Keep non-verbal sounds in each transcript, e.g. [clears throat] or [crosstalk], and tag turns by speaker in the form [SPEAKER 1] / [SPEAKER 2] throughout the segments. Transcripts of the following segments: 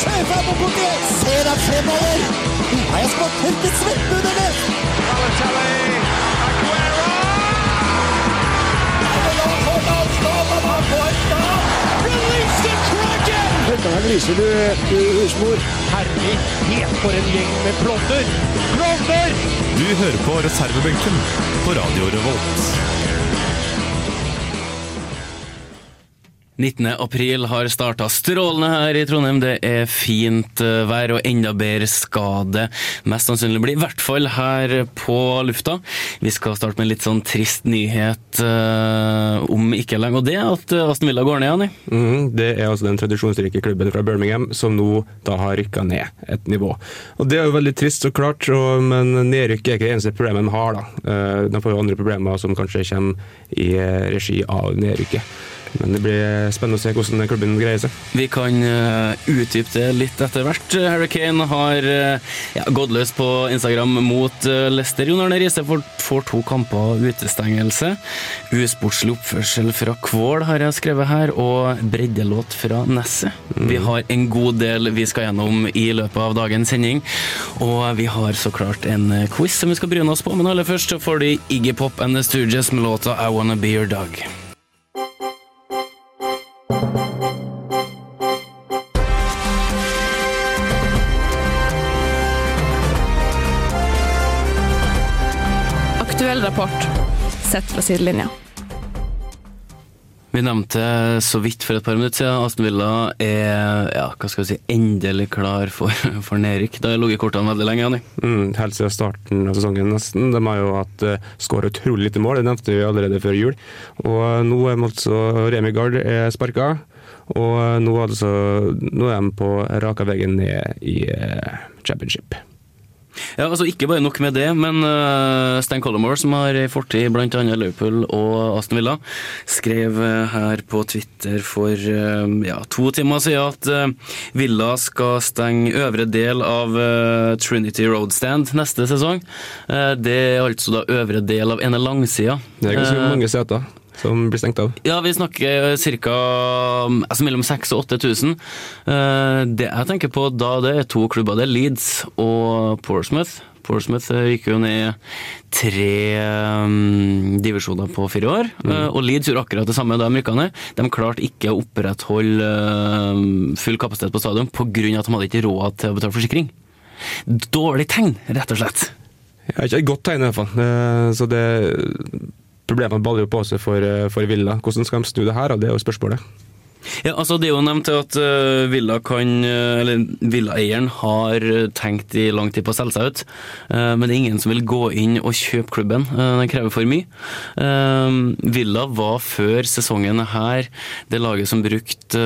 [SPEAKER 1] Sjøfra på bordet! Ser han fremover! Har jeg spådd tørket svetten under det?
[SPEAKER 2] Dette gliser du, du husmor.
[SPEAKER 3] Herlighet, for en gjeng med blonder! Blonder!
[SPEAKER 4] Du hører på reservebenken på Radio Revolt.
[SPEAKER 5] 19. april har starta strålende her i Trondheim. Det er fint eh, vær, og enda bedre skal det mest sannsynlig bli. I hvert fall her på lufta. Vi skal starte med en litt sånn trist nyhet eh, om ikke lenge, og det er at eh, Aston Villa går ned, Anni.
[SPEAKER 6] Mhm, det er altså den tradisjonsrike klubben fra Birmingham som nå da har rykka ned et nivå. Og Det er jo veldig trist, så klart, og, men nedrykk er ikke det eneste problemet en har. da. Eh, De får jo andre problemer som kanskje kommer i eh, regi av nedrykket. Men det blir spennende å se hvordan klubben greier seg.
[SPEAKER 5] Vi kan eh, utdype det litt etter hvert. Harry Kane har eh, ja, gått løs på Instagram mot eh, Leicester. Jon Arne Riise får, får to kamper utestengelse. Usportslig oppførsel fra Kvål har jeg skrevet her, og breddelåt fra Nesset. Vi har en god del vi skal gjennom i løpet av dagens sending, og vi har så klart en eh, quiz som vi skal bryne oss på, men aller først så får de Iggy Pop and The Stooges med låta I Wanna Be Your Dog.
[SPEAKER 7] Aktuell rapport sett fra sidelinja.
[SPEAKER 5] Vi nevnte så vidt for et par minutter siden Aston Villa er ja, hva skal vi si, endelig klar for, [laughs] for nedrykk. Da har ligget i kortene veldig lenge. Anni.
[SPEAKER 6] Mm, helt siden starten av sesongen, nesten. De har jo hatt uh, skåret utrolig lite mål, det nevnte vi allerede før jul. Og eh, nå er de altså Remi Gard er sparka, og eh, nå, altså, nå er de på raka veien ned i eh, championship.
[SPEAKER 5] Ja, altså Ikke bare nok med det, men eh, Stan Collymore, som har en fortid blant annet Liverpool og Aston Villa, skrev eh, her på Twitter for eh, ja, to timer siden at eh, Villa skal stenge øvre del av eh, Trinity Road Stand neste sesong. Eh, det er altså da øvre del av ene langsida.
[SPEAKER 6] Det er ganske
[SPEAKER 5] Eh,
[SPEAKER 6] mange seter som blir stengt av.
[SPEAKER 5] Ja, vi snakker ca. Altså mellom 6000 og 8000. Eh, Det jeg tenker på da, det er to klubber. Det er Leeds og Porsmouth. Porsmouth eh, gikk jo ned tre mm, divisjoner på fire år. Eh, Og Leeds gjorde akkurat det samme da de rykka ned. De klarte ikke å opprettholde eh, full kapasitet på stadion pga. at de hadde ikke råd til å betale forsikring. Dårlig tegn, rett og slett.
[SPEAKER 6] Ja, ikke et godt tegn, i hvert fall. Eh, så det Problemene baller jo på seg for, eh, for Villa. Hvordan skal de snu det her? da? Det er jo spørsmålet.
[SPEAKER 5] Ja, altså Det er jo nevnt at eh, Villa kan, eh, eller villaeieren har eh, tenkt i lang tid på å selge seg ut, eh, men det er ingen som vil gå inn og kjøpe klubben. Uh, den krever for mye. Eh, Villa var før sesongen her det laget som brukte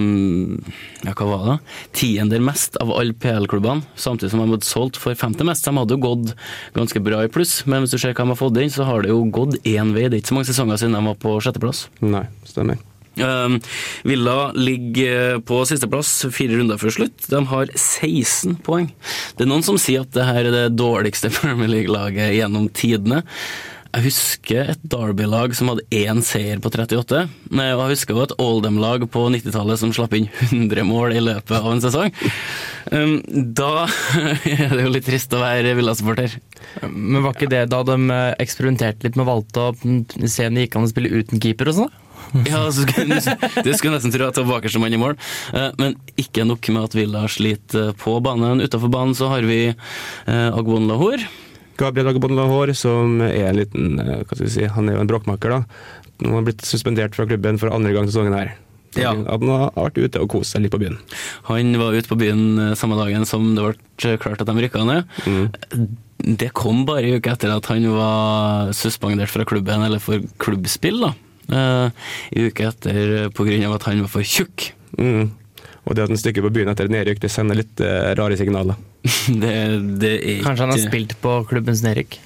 [SPEAKER 5] eh, ja, hva var det? tiender mest av alle PL-klubbene, samtidig som de hadde solgt for femte mest. De hadde jo gått ganske bra i pluss, men hvis du ser hva de har fått inn, så har det jo gått én vei. Det er ikke så mange sesonger siden de var på sjetteplass.
[SPEAKER 6] Nei, stemmer.
[SPEAKER 5] Um, Villa ligger eh, på sisteplass, fire runder før slutt. De har 16 poeng. Det er noen som sier at det her er det dårligste [laughs] Premier League-laget gjennom tidene. Jeg husker et Derby-lag som hadde én seier på 38. Nei, og jeg husker jo et Oldham-lag på 90-tallet som slapp inn 100 mål i løpet av en sesong. Um, da [laughs] er det jo litt trist å være Villa-supporter.
[SPEAKER 3] Men var ikke det da de eh, eksperimenterte litt med valgte å mm, se om det gikk an å spille uten keeper og sånn? da?
[SPEAKER 5] [laughs] Ja, så skulle, du skulle nesten tro at det var bakerste mann i mål. Eh, Men ikke nok med at Villa sliter eh, på banen. Utenfor banen så har vi eh, Agwon Lahore.
[SPEAKER 6] Gabriel Agabon Lahore, som er en liten eh, hva skal vi si, Han er jo en bråkmaker, da. Nå har han blitt suspendert fra klubben for andre gang sesongen her.
[SPEAKER 5] Ja.
[SPEAKER 6] At han har vært ute og kost seg litt på byen.
[SPEAKER 5] Han var ute på byen eh, samme dagen som det ble eh, klart at de rykka ned. Eh, Det kom bare en uke etter at han var suspendert fra klubben, eller for klubbspill, da. Eh, En uke etter eh, pga. at han var for tjukk. [laughs]
[SPEAKER 6] Mm. Og det at han stikker på byen etter nedrykk, det sender litt eh, rare signaler.
[SPEAKER 5] Det, det er
[SPEAKER 3] Kanskje han har
[SPEAKER 5] ikke-
[SPEAKER 3] spilt på klubbens nedrykk?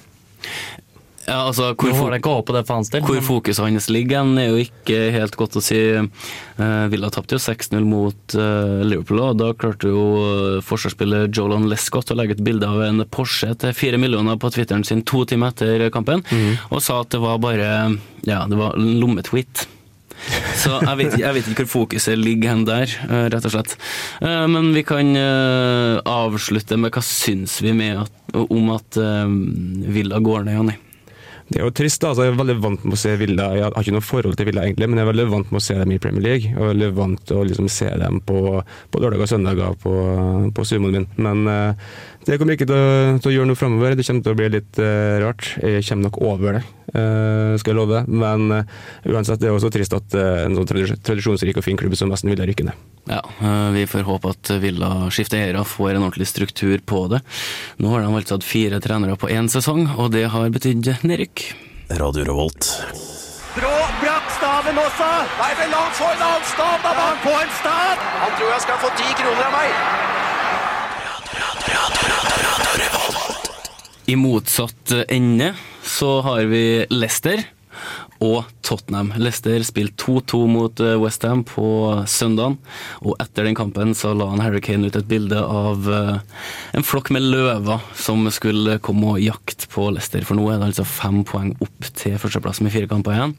[SPEAKER 5] Ja, altså,
[SPEAKER 3] Nå
[SPEAKER 5] hvor
[SPEAKER 3] får
[SPEAKER 5] fort
[SPEAKER 3] det ikke håpe det for hans del.
[SPEAKER 5] Hvor
[SPEAKER 3] men-
[SPEAKER 5] fokuset hans ligger, han er jo ikke helt godt å si. Eh, Villa tapte jo 6-0 mot eh, Liverpool, og da klarte jo eh, forsvarsspiller Jolan Lescott å legge ut bilde av en Porsche til fire millioner på Twitteren sin to timer etter kampen, og sa at det var bare ja, det var en lommetweet. Så jeg vet, jeg vet ikke hvor fokuset ligger hen der, eh, rett og slett. Eh, Men vi kan eh, avslutte med hva syns vi med at, om at eh, Villa går ned, Jonny?
[SPEAKER 6] Det er jo trist, da. altså Jeg er veldig vant med å se Villa. Jeg har ikke noe forhold til Villa, egentlig, men jeg er veldig vant med å se dem i Premier League. Og jeg er veldig vant til å liksom se dem på, på lørdag og søndager på, på sumoen min. Men eh, det kommer ikke til å, til å gjøre noe framover. Det kommer til å bli litt eh, rart. Jeg kommer nok over det, eh, skal jeg love. Men eh, uansett, det er også trist at eh, en sånn tradis- tradisjonsrik og fin klubb som Vesten Villa rykker ned.
[SPEAKER 5] Ja, eh, vi får håpe at Villa skifter eiere, får en ordentlig struktur på det. Nå har de altså hatt fire trenere på én sesong, og det har betydd nedrykk.
[SPEAKER 4] Radio Revolt.
[SPEAKER 1] Brå brakk staven også. Nei, men la han få en annen stav, da! La han få en stav! Han tror jeg skal få ti kroner av meg.
[SPEAKER 5] I motsatt eh, ende så har vi Leicester og Tottenham. Leicester spilte 2-2 mot eh, West Ham på søndagen, og etter den kampen så la han Harry Kane ut et bilde av eh, en flokk med løver som skulle komme og jakte på Leicester, for nå er det altså fem poeng opp til førsteplass med fire kamper igjen.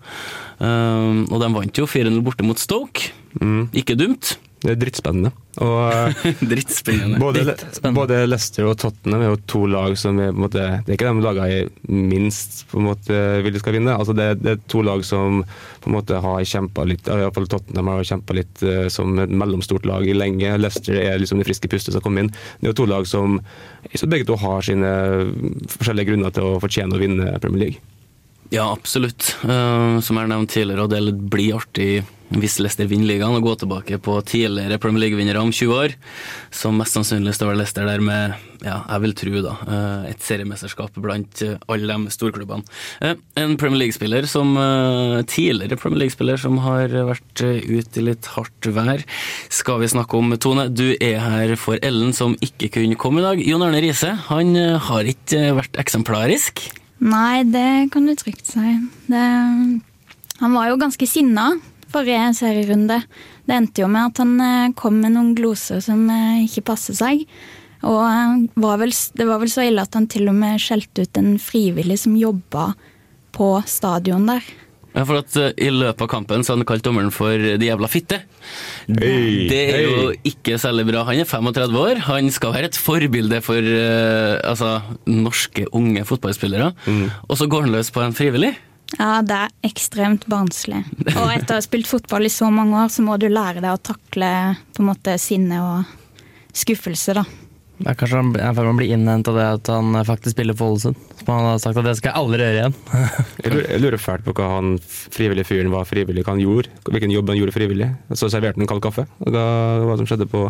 [SPEAKER 5] Um, og de vant jo 4-0 borte mot Stoke. Ikke dumt. [laughs]
[SPEAKER 6] Det er drittspennende. Og eh,
[SPEAKER 5] Drittspennende.
[SPEAKER 6] Både,
[SPEAKER 3] Litt spennende.
[SPEAKER 6] både Leicester og Tottenham er jo to lag som er på en måte, Det er ikke de lagene jeg minst på en måte vil skal vinne. Altså det, det er to lag som på en måte har kjempa litt i hvert fall Tottenham har kjempa litt eh, som et mellomstort lag i lenge. Leicester er liksom det friske pustet som kom inn. Det er jo to lag som som begge to har sine forskjellige grunner til å fortjene å vinne Premier League.
[SPEAKER 5] Ja, absolutt. Eh, som jeg har nevnt tidligere, og det blir artig hvis Leicester vinner ligaen og går tilbake på tidligere Premier League-vinnere om 20 år. Så mest sannsynlig står Leicester der med, ja, jeg vil tro, da, eh, et seriemesterskap blant eh, alle de storklubbene. Eh, en Premier League-spiller som eh, tidligere Premier League-spiller som har vært eh, ute i litt hardt vær, skal vi snakke om, Tone. Du er her for Ellen, som ikke kunne komme i dag. Jon Arne Riise, han eh, har ikke eh, vært eksemplarisk.
[SPEAKER 8] Nei, det kan du trygt si. Det, han var jo ganske sinna forrige serierunde. Det endte jo med at han eh, kom med noen gloser som eh, ikke passer seg. Og eh, var vel, s- det var vel så ille at han til og med skjelte ut en frivillig som jobba på stadion der.
[SPEAKER 5] Ja, for at eh, I løpet av kampen så har han kalt dommeren for de jævla fitte.
[SPEAKER 6] Hei,
[SPEAKER 5] det er jo
[SPEAKER 6] hei.
[SPEAKER 5] ikke særlig bra. Han er 35 år. Han skal være et forbilde for eh, altså, norske unge fotballspillere. Og så går han løs på en frivillig.
[SPEAKER 8] Ja, det er ekstremt [laughs] barnslig. Og etter å ha spilt fotball i så mange år, så må du lære deg å takle på en måte sinne og skuffelse, da.
[SPEAKER 3] Det er kanskje han er i ferd med å bli innhentet av det at han eh, faktisk spiller for Ålesund. Som han har sagt at det skal jeg aldri gjøre igjen.
[SPEAKER 5] [laughs]
[SPEAKER 6] Jeg lurer, jeg lurer fælt på hva han frivillige fyren var frivillig, hva han gjorde, hvilken jobb han gjorde frivillig. Så serverte han kald kaffe. Og da, hva som skjedde på,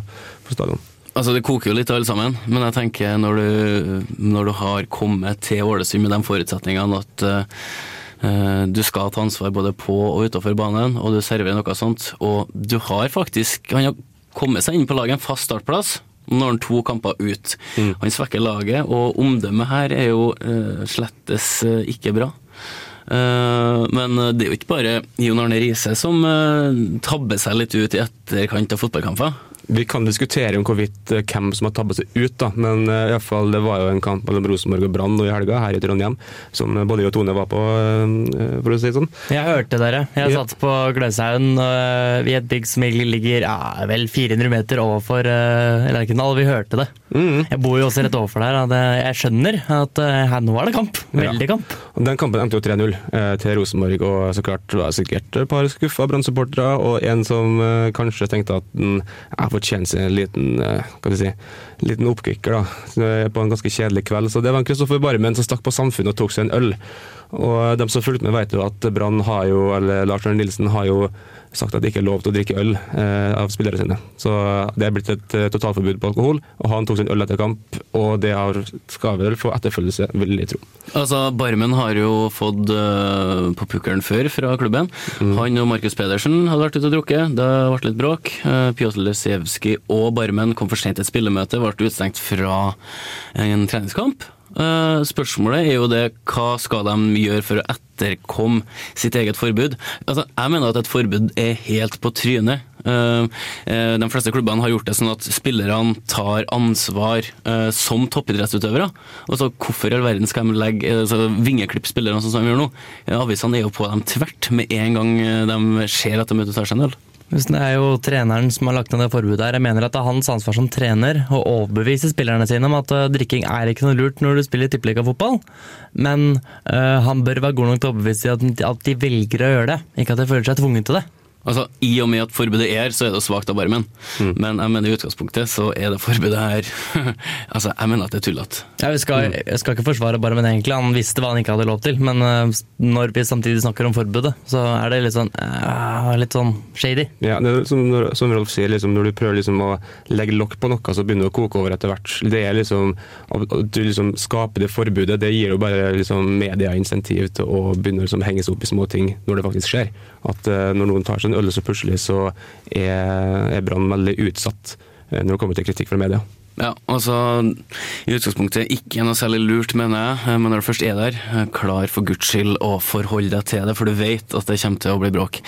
[SPEAKER 6] på stadion.
[SPEAKER 5] Altså, Det koker jo litt alle sammen, men jeg tenker når du, når du har kommet til Ålesund med de forutsetningene at eh, eh, du skal ta ansvar både på og utenfor banen, og du serverer noe sånt, og du har faktisk Han har kommet seg inn på laget en fast startplass. Nå har han to kamper ut. Han svekker laget, og omdømmet her er jo eh, slettes eh, ikke bra. Eh, Men det er jo ikke bare Jon Arne Riise som eh, tabber seg litt ut i etterkant av fotballkamper.
[SPEAKER 6] Vi kan diskutere om hvorvidt eh, hvem som har tabba seg ut, da. men eh, i alle fall, det var jo en kamp mellom Rosenborg og Brann nå i helga her i Trondheim, som eh, både jeg og Tone var på, eh, for å si det sånn.
[SPEAKER 3] Jeg hørte dere. Jeg
[SPEAKER 6] Ja.
[SPEAKER 3] satt på Gløshaugen øh, i et bygg som egentlig ligger ja, vel 400 meter overfor øh, Lerkendal. Vi hørte det.
[SPEAKER 5] Mm.
[SPEAKER 3] Jeg bor jo også rett overfor der. og det, jeg skjønner at øh, her, nå er det kamp. Veldig kamp.
[SPEAKER 6] Og Den kampen endte jo 3-0 eh, til Rosenborg, og så klart var det sikkert et par skuffa Brann-supportere, og en som eh, kanskje tenkte at den jeg fortjener seg en liten, eh, hva skal jeg si, liten oppkikker da, eh, på en ganske kjedelig kveld. Så det var en Kristoffer Barmen som stakk på Samfunnet og tok seg en øl. Og eh, de som fulgte med vet jo at Brann har jo, eller Lars Arne Nilsen har jo sagt at det ikke er lov til å drikke øl eh, av spillere sine. Så det er blitt et eh, totalforbud på alkohol, og han tok seg en øl etter kamp, og det har, skal vel få etterfølgelse, vil jeg tro.
[SPEAKER 5] Altså, Barmen har jo fått eh, på pukkelen før fra klubben. Han og Markus Pedersen hadde vært ute og drukket, det ble litt bråk. Uh, Pjotr Lesevskij og Barmen kom for sent til et spillemøte, ble utstengt fra en treningskamp. Eh, Spørsmålet er jo det hva skal de gjøre for å etterkomme sitt eget forbud. Altså, jeg mener at et forbud er helt på trynet. Eh, eh, De fleste klubbene har gjort det sånn at spillerne tar ansvar eh, som toppidrettsutøvere. Og så hvorfor i all verden skal de legge eh, så vingeklippe spillerne sånn som de gjør nå? Eh, Avisene er jo på dem tvert med en gang eh, de ser at de er ute og tar seg en øl.
[SPEAKER 3] Hvis Det er jo treneren som har lagt ned det forbudet her. Jeg mener at det er hans ansvar som trener å overbevise spillerne sine om at eh, drikking er ikke noe lurt når du spiller tippeligafotball. Men eh, han bør være god nok til å overbevise dem at, at de velger å gjøre det, ikke at de føler seg tvunget til det.
[SPEAKER 5] Altså, I og med at forbudet er, så er det svakt av barmen. Men jeg mener i utgangspunktet så er det forbudet her [laughs] Altså, jeg mener at det er tullete.
[SPEAKER 3] Jeg skal, jeg skal ikke forsvare Barmen egentlig, han visste hva han ikke hadde lov til. Men eh, når vi samtidig snakker om forbudet, så er det litt sånn, eh, litt sånn shady.
[SPEAKER 6] Ja, det er som, når- som Rolf sier, liksom, når du prøver liksom å legge lokk på noe, så begynner det å koke over etter hvert. Det er liksom, At du liksom skaper det forbudet, det gir jo bare liksom, media insentiv til å begynne å liksom, henge seg opp i små ting når det faktisk skjer. At eh, når noen tar seg en øl, så plutselig så er, er Brann veldig utsatt eh, når det kommer til kritikk fra media.
[SPEAKER 5] Ja, altså, I utgangspunktet ikke noe særlig lurt, mener jeg. Eh, Men når du først er der, eh, klar for guds skyld å forholde deg til det, for du vet at det kommer til å bli bråk.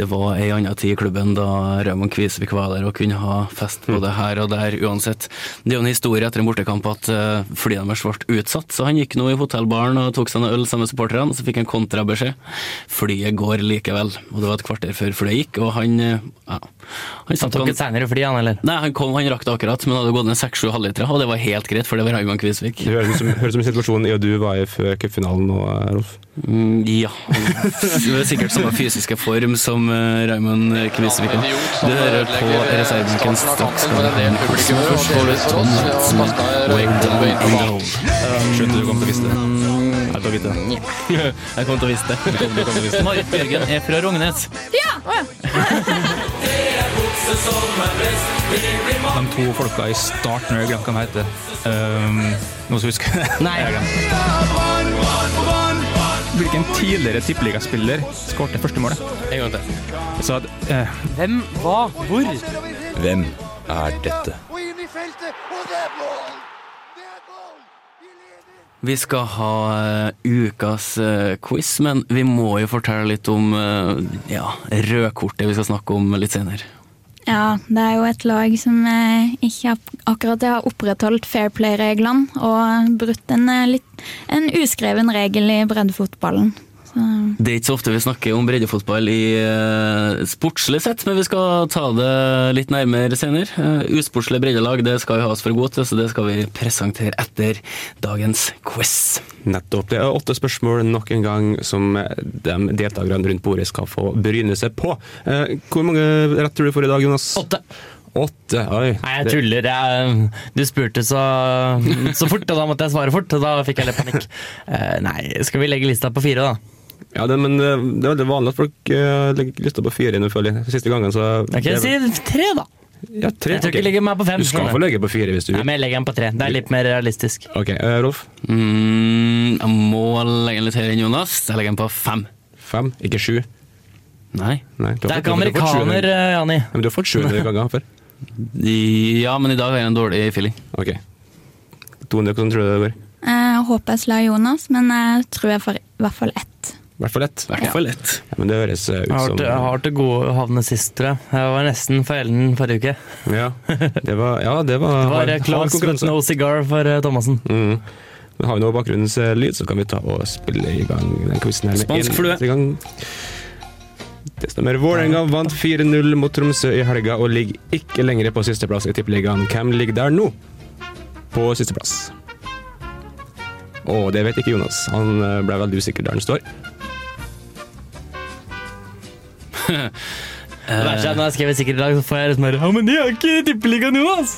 [SPEAKER 5] Det var ei anna tid i klubben da Raymond Kvisvik var der og kunne ha fest
[SPEAKER 3] Mm.
[SPEAKER 5] både her og der uansett. Det er jo en historie etter en bortekamp at eh, fordi de var svart utsatt, så han gikk nå i hotellbaren og tok seg noe øl sammen med supporterne, og så fikk han kontrabeskjed. Flyet går likevel. Og det var et kvarter før flyet gikk, og han eh, ja, Han
[SPEAKER 3] Han tok et seinere fly, han heller.
[SPEAKER 5] Nei, han kom, han rakk det akkurat, men hadde gått ned 6-7 halvlitere, og det var helt greit, for det var Raymond Kvisvik.
[SPEAKER 6] Det høres ut som, høres ut som en situasjon i og du var i før cupfinalen nå, eh, Rolf.
[SPEAKER 5] Mm, ja. Det var sikkert samme fysiske form som eh, Raymond Kvisvik.
[SPEAKER 9] En
[SPEAKER 5] da.
[SPEAKER 9] idiot som
[SPEAKER 5] Du hører på
[SPEAKER 9] ødelegger, eh,
[SPEAKER 5] reservebenkens
[SPEAKER 9] starten av kampen
[SPEAKER 5] straks.
[SPEAKER 9] for en del publikummere, og det er litt
[SPEAKER 5] sånn?
[SPEAKER 9] for oss, det er å passe deg, Raymond, på banen.
[SPEAKER 4] Skjønte du kom til å vise det. Jeg tar vite det.
[SPEAKER 5] Jeg kom til å vise det. Marit Bjørgen er fra Rognes.
[SPEAKER 4] De to folka i starten, jeg glemte hva de heter. Um, noen som husker [laughs] det? Nei. Hvilken tidligere tippeligaspiller skårte første målet?
[SPEAKER 5] En gang til.
[SPEAKER 4] Så at, eh,
[SPEAKER 3] Hvem, hva, hvor?
[SPEAKER 10] Hvem er dette?
[SPEAKER 1] Og inn i feltet, og det er mål! Det er mål! Vi leder!
[SPEAKER 5] Vi skal ha eh, ukas eh, quiz, men vi må jo fortelle litt om eh, ja, rødkortet vi skal snakke om litt senere.
[SPEAKER 8] Ja, det er jo et lag som eh, ikke ak- akkurat har opprettholdt fair play-reglene og brutt en, eh, litt, en uskreven regel i breddefotballen. Så, eh,
[SPEAKER 5] Det er ikke så ofte vi snakker om breddefotball i eh, sportslig sett, men vi skal ta det litt nærmere senere. Eh, usportslige breddelag det skal vi ha oss for gode til, så det skal vi presentere etter dagens quiz.
[SPEAKER 6] Nettopp. Det er åtte spørsmål nok en gang som eh, de deltakerne rundt bordet skal få bryne seg på. Eh, Hvor mange rett tror du får i dag, Jonas?
[SPEAKER 3] Åtte.
[SPEAKER 6] Åtte, oi.
[SPEAKER 3] Nei, jeg tuller. Jeg, du spurte så, så fort, og da måtte jeg svare fort. Og da fikk jeg litt [laughs] panikk. Eh, Nei, skal vi legge lista på fire, da?
[SPEAKER 6] Det, ja, det, men eh, det er veldig vanlig at folk eh, legger lista på fire, selvfølgelig. Siste gangen, så
[SPEAKER 3] Ok, Si tre, da.
[SPEAKER 6] ja, tre,
[SPEAKER 3] Jeg tror ikke
[SPEAKER 6] ok.
[SPEAKER 3] jeg legger meg på fem.
[SPEAKER 6] Du skal få legge på fire hvis du
[SPEAKER 3] Nei,
[SPEAKER 6] vil.
[SPEAKER 3] men jeg legger den på tre. Det er litt mer realistisk.
[SPEAKER 6] Ok, eh, Rolf.
[SPEAKER 5] Mm, jeg må legge den litt høyere enn Jonas. Jeg legger den på fem.
[SPEAKER 6] Fem, ikke sju.
[SPEAKER 5] Nei.
[SPEAKER 6] Nei, du har
[SPEAKER 3] Det er
[SPEAKER 6] fått- du har fått
[SPEAKER 3] ikke
[SPEAKER 6] sju
[SPEAKER 3] amerikaner,
[SPEAKER 6] hundre.
[SPEAKER 3] eh, Jani.
[SPEAKER 6] Ja, Men du har fått sju hundre
[SPEAKER 3] [laughs]
[SPEAKER 6] ganger før.
[SPEAKER 5] I- Ja, men i dag har jeg en dårlig feeling.
[SPEAKER 6] Ok. 200, hvordan tror du det går?
[SPEAKER 8] jeg håper jeg slår Jonas, men jeg tror jeg får i hvert fall ett.
[SPEAKER 6] I hvert fall ett.
[SPEAKER 5] I hvert fall ett.
[SPEAKER 6] Ja, men det høres eh, ut
[SPEAKER 3] Jeg har
[SPEAKER 6] som
[SPEAKER 3] vært- jeg har vært til gode å havne sist, tror jeg. Jeg var nesten for Ellen forrige uke.
[SPEAKER 6] Ja, det var, ja, det var,
[SPEAKER 3] Det var
[SPEAKER 6] hard-
[SPEAKER 3] eh,
[SPEAKER 6] hard
[SPEAKER 3] close but
[SPEAKER 6] konkurranse.
[SPEAKER 3] no cigar for eh, Thomassen.
[SPEAKER 6] Mm. Men har vi noe bakgrunnslyd, så kan vi ta og spille i gang den quizen her. med
[SPEAKER 5] Spansk
[SPEAKER 6] en
[SPEAKER 5] flue.
[SPEAKER 6] eneste gang. Det stemmer. Vålerenga vant 4-0 mot Tromsø i helga og ligger ikke lenger på sisteplass i Tippeligaen. Hvem ligger der nå? På sisteplass. Å, det vet ikke Jonas. Han eh, ble veldig usikker der han står.
[SPEAKER 5] Eh,
[SPEAKER 3] Det verste er at Når jeg skriver sikkert i dag, så får jeg liksom bare Ja, men de har ikke tippeliga nå, ass!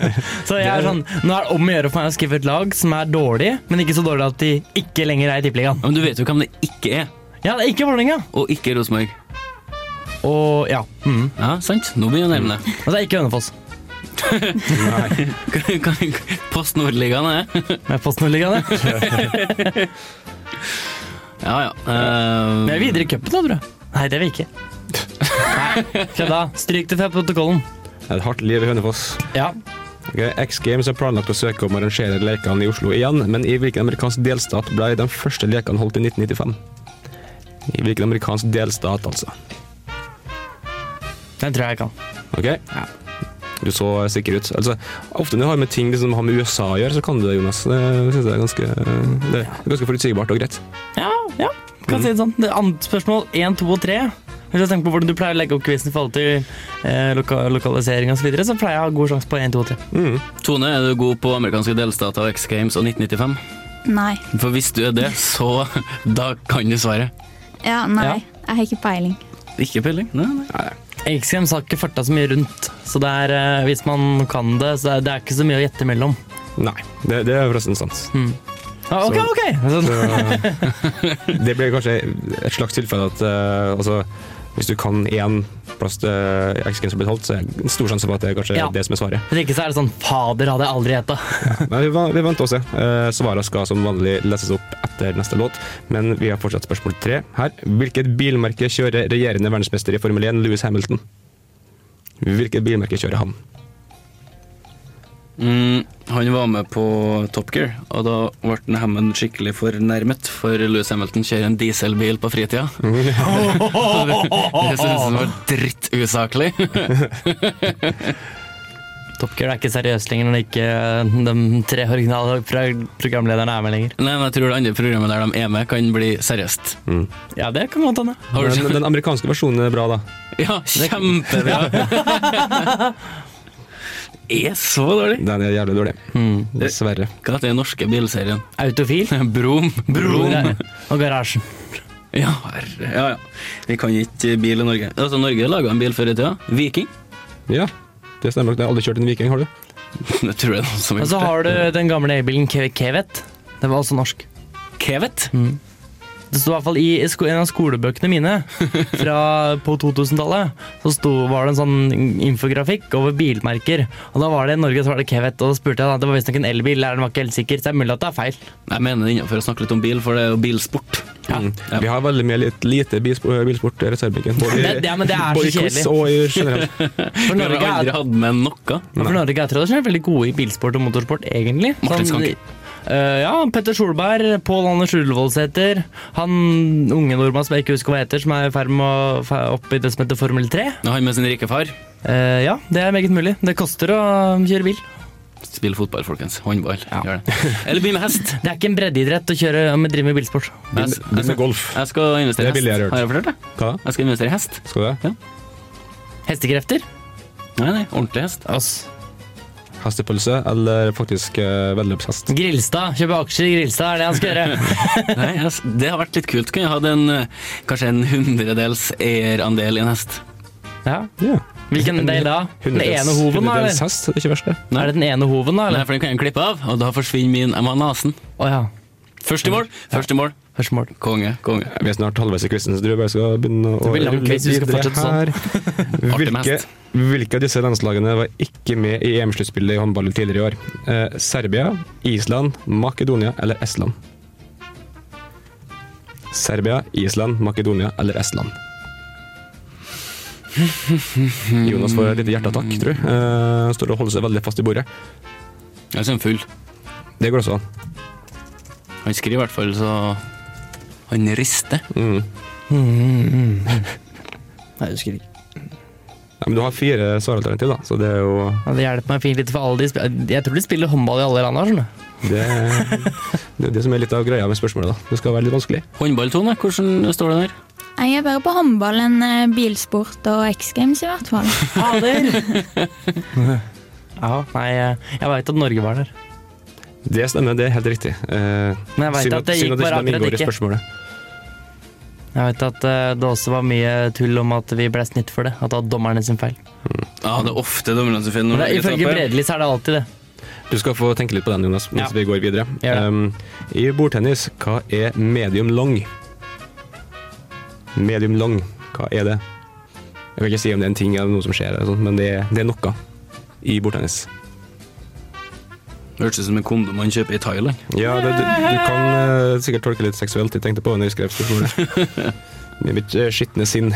[SPEAKER 3] [laughs] så jeg er sånn Nå er det om å gjøre for meg å skrive et lag som er dårlig, men ikke så dårlig at de ikke lenger er i tippeligaen.
[SPEAKER 5] Ja, Men du vet jo hvem det ikke er,
[SPEAKER 3] Ja, det er ikke Vålerenga.
[SPEAKER 5] og ikke Rosenborg.
[SPEAKER 3] Og ja. Mm.
[SPEAKER 5] Ja, sant? Nå begynner jeg å nærme deg.
[SPEAKER 3] Og Altså, det er ikke Hønefoss.
[SPEAKER 5] [laughs] Post Nordligaen er
[SPEAKER 3] Med Post Nordligaen, det.
[SPEAKER 5] Ja, ja. Eh,
[SPEAKER 3] Vi er videre i cupen, da, tror jeg. Nei, det er vi ikke. Nei, Kødda. [laughs] Stryk det fra protokollen.
[SPEAKER 6] Det er et hardt liv i Hønefoss.
[SPEAKER 3] Ja.
[SPEAKER 6] Ok, X Games har planlagt å søke om å arrangere lekene i Oslo igjen, men i hvilken amerikansk delstat ble de første lekene holdt i 1995? I hvilken amerikansk delstat, altså?
[SPEAKER 3] Den tror jeg jeg kan.
[SPEAKER 6] Ok? Du så sikker ut. Altså, ofte når du har med ting som har med USA å gjøre, så kan du det, Jonas. Det synes jeg er ganske, det er ganske forutsigbart og greit.
[SPEAKER 3] Ja, ja. Kan si det sånn. Det er annet spørsmål én, to og tre. Hvis jeg tenker på hvordan du pleier å legge opp quizen i forhold til eh, loka lokalisering osv., så, videre, så pleier jeg å ha god sjanse på én, to og tre.
[SPEAKER 5] Tone, er du god på amerikanske delstater og X Games og 1995?
[SPEAKER 8] Nei.
[SPEAKER 5] For hvis du er det, så [laughs] da kan du svaret.
[SPEAKER 8] Ja,
[SPEAKER 3] Ja.
[SPEAKER 8] nei. Jeg har ikke peiling.
[SPEAKER 5] Ikke peiling. Nei, nei.
[SPEAKER 3] X Games har ikke farta så mye rundt, så det er, eh, hvis man kan det, så det er det er ikke så mye å gjette imellom.
[SPEAKER 6] Nei, det, det er forresten sant.
[SPEAKER 3] Ah, ok,
[SPEAKER 6] Så-
[SPEAKER 3] ok! Sånn.
[SPEAKER 6] Så, det blir kanskje et slags tilfelle at eh, altså, hvis du kan én plass eh, til X Games har blitt holdt, så er det en stor sjanse for at det er kanskje
[SPEAKER 3] Ja.
[SPEAKER 6] det som er svaret.
[SPEAKER 3] Hvis ikke så er det sånn Fader, hadde jeg aldri gjetta.
[SPEAKER 6] Nei, vi, va- vi vant å se. Eh, Svarene skal som vanlig leses opp etter neste låt, men vi har fortsatt spørsmål tre her. Hvilket bilmerke kjører regjerende verdensmester i Formel 1, Lewis Hamilton? Hvilket bilmerke kjører han?
[SPEAKER 5] Mm, han var med på Top Gear, og da ble den Hammond skikkelig fornærmet, for Louis Hamilton kjører en dieselbil på fritida. Det synes han var drittusaklig.
[SPEAKER 3] Top Gear er ikke seriøst lenger når ikke eh, de tre originale pro- programlederne er med lenger.
[SPEAKER 5] [laughs] Nei, men jeg tror det andre programmet der de er med, kan bli seriøst.
[SPEAKER 3] Ja, det kan godt hende.
[SPEAKER 5] Har du
[SPEAKER 6] Den, den amerikanske versjonen er bra, da.
[SPEAKER 5] Ja, kjempebra! [laughs] er så dårlig.
[SPEAKER 6] Den er jævlig dårlig.
[SPEAKER 3] Hmm,
[SPEAKER 6] Dessverre.
[SPEAKER 5] Hva heter den norske bilserien? [laughs]
[SPEAKER 3] Autofil.
[SPEAKER 5] Brom. Brom.
[SPEAKER 3] Og garasjen.
[SPEAKER 5] Ja, herre. Ja, ja. Vi kan ikke bil i Norge. Altså, Norge laga en bil før i tida. Viking. [laughs]
[SPEAKER 6] Ja, det stemmer nok. Jeg har aldri kjørt en Viking, har du?
[SPEAKER 5] Det tror jeg noen som har
[SPEAKER 3] Og så
[SPEAKER 6] Altså,
[SPEAKER 5] gjort.
[SPEAKER 3] har du den gamle elbilen Ke- Kevet. Det var også norsk.
[SPEAKER 5] det. Kevet.
[SPEAKER 3] Det sto i hvert fall i i sko- en av skolebøkene mine fra på 2000-tallet. Så sto, var det en sånn infografikk over bilmerker. Og da var det i Norge så var det Kevet. Og da spurte jeg da, det var visstnok en elbil, eller den var ikke helt sikker, så det er mulig at det er feil.
[SPEAKER 5] Jeg mener det innenfor å snakke litt om bil, for det er jo bilsport.
[SPEAKER 6] Mm. Vi har veldig mye litt, lite bilsport, bilsport i reservebenken. Både, i-
[SPEAKER 3] Det- det- men det er så
[SPEAKER 6] både i quiz
[SPEAKER 3] kjedelig.
[SPEAKER 6] og i generelt.
[SPEAKER 3] For
[SPEAKER 5] Vi har
[SPEAKER 3] Norge er
[SPEAKER 5] aldri hatt med noe.
[SPEAKER 3] Ja, For Norge er tradisjonelt veldig gode i bilsport og motorsport, egentlig.
[SPEAKER 5] Martin
[SPEAKER 3] Sånn,
[SPEAKER 5] Skanke.
[SPEAKER 3] eh, ja, Petter Solberg, Pål Anders Ullevålseter, han unge nordmann som jeg ikke husker hva heter, som er i ferd med å fe- opp i det som heter Formel 3.
[SPEAKER 5] Nå har han med sin rike far.
[SPEAKER 3] Eh, ja, det er meget mulig. Det koster å kjøre bil.
[SPEAKER 5] Spill fotball, folkens. Håndball. Gjør det. Eller bli med
[SPEAKER 6] [laughs]
[SPEAKER 5] hest.
[SPEAKER 3] Det er ikke en breddeidrett å kjøre om drive med bilsport.
[SPEAKER 5] Jeg,
[SPEAKER 6] Bil- bil med golf.
[SPEAKER 5] jeg skal
[SPEAKER 6] Det
[SPEAKER 5] investere i
[SPEAKER 6] er
[SPEAKER 5] hest.
[SPEAKER 6] billigere, hørt.
[SPEAKER 5] Har jeg fortalt det?
[SPEAKER 6] Hva da?
[SPEAKER 5] Jeg skal investere i hest.
[SPEAKER 6] Skal du det?
[SPEAKER 3] Hestekrefter?
[SPEAKER 5] Nei, nei, ordentlig hest.
[SPEAKER 3] Oss.
[SPEAKER 6] Hestepølse eller faktisk uh, veddeløpshest?
[SPEAKER 3] Grilstad. Kjøpe aksjer i Grilstad, er det han skal gjøre.
[SPEAKER 5] Nei, jeg, det har vært litt kult. Kunne jeg hatt en eh, kanskje en hundredels eierandel i en hest?
[SPEAKER 3] Ja.
[SPEAKER 6] Ja.
[SPEAKER 3] Hvilken del da? Den ene hoven, da?
[SPEAKER 6] Hundredels
[SPEAKER 3] Eller?
[SPEAKER 6] hest, det er ikke verst, det.
[SPEAKER 3] Er det den ene hoven, da?
[SPEAKER 5] Nei,
[SPEAKER 3] Eller?
[SPEAKER 5] for den kan jeg klippe av, og da forsvinner min Jeg må ha nesen.
[SPEAKER 3] Å ja.
[SPEAKER 5] Først i mål! Først i mål.
[SPEAKER 3] Første mål.
[SPEAKER 5] Konge, konge.
[SPEAKER 6] Vi er snart halvveis i quizen, så du bare skal begynne å
[SPEAKER 3] Det blir lang quiz, vi skal [laughs]
[SPEAKER 6] fortsette sånn.
[SPEAKER 5] Artig
[SPEAKER 6] hvilke,
[SPEAKER 5] mest.
[SPEAKER 6] hvilke av disse landslagene var ikke med i EM-sluttspillet i håndball tidligere i år? Eh, Serbia, Island, Makedonia eller Estland? Serbia, Island, Makedonia eller
[SPEAKER 3] [laughs]
[SPEAKER 6] Estland? Jonas får et lite hjerteattakk, tror jeg. Eh, står og holder seg veldig fast i bordet.
[SPEAKER 5] Jeg er sånn full.
[SPEAKER 6] Det går også an.
[SPEAKER 5] Han skriver i hvert fall, så Han rister.
[SPEAKER 6] Mm.
[SPEAKER 3] Nei, jeg husker ikke.
[SPEAKER 6] Nei, men du har fire svaralternativ, da, så det er jo
[SPEAKER 3] Ja, det hjelper meg fint litt, for alle de sp- jeg tror de spiller håndball i alle land. her, skjønner du.
[SPEAKER 6] Det, det er det som er litt av greia med spørsmålet. da. Det skal være litt vanskelig.
[SPEAKER 5] Håndballtone, hvordan står det der?
[SPEAKER 8] Jeg er bedre på håndball enn eh, bilsport og X Games, i hvert fall.
[SPEAKER 3] [laughs] Ja, nei, eh, jeg veit at Norge var der.
[SPEAKER 6] Det stemmer, det er helt riktig. Eh,
[SPEAKER 3] Men jeg vet
[SPEAKER 6] synd
[SPEAKER 3] at det
[SPEAKER 6] synd
[SPEAKER 3] gikk
[SPEAKER 6] ikke
[SPEAKER 3] bare
[SPEAKER 6] de
[SPEAKER 3] akkurat
[SPEAKER 6] inngår i
[SPEAKER 3] ikke.
[SPEAKER 6] spørsmålet.
[SPEAKER 3] Jeg vet at eh, det også var mye tull om at vi ble snytt for det. At det var dommerne sin feil.
[SPEAKER 5] Ja, det er ofte dommerne som finner
[SPEAKER 3] Men det,
[SPEAKER 5] Norge
[SPEAKER 3] ifølge
[SPEAKER 5] taper.
[SPEAKER 3] Bredeli så er det alltid det.
[SPEAKER 6] Du skal få tenke litt på den, Jonas, mens
[SPEAKER 3] Ja.
[SPEAKER 6] vi går videre.
[SPEAKER 3] Gjør det.
[SPEAKER 6] Um, I bordtennis, hva er medium long? Medium long, hva er det? Jeg kan ikke si om det er en ting eller noe som skjer, eller sånt, men det er, det er noe i bordtennis.
[SPEAKER 5] Hørtes ut som en kondom man kjøper i Thailand.
[SPEAKER 6] Ja, det, du, du kan eh, sikkert tolke litt seksuelt, jeg tenkte på det når jeg skrev
[SPEAKER 3] [laughs]
[SPEAKER 6] spørsmålet. Med mitt eh, skitne sinn.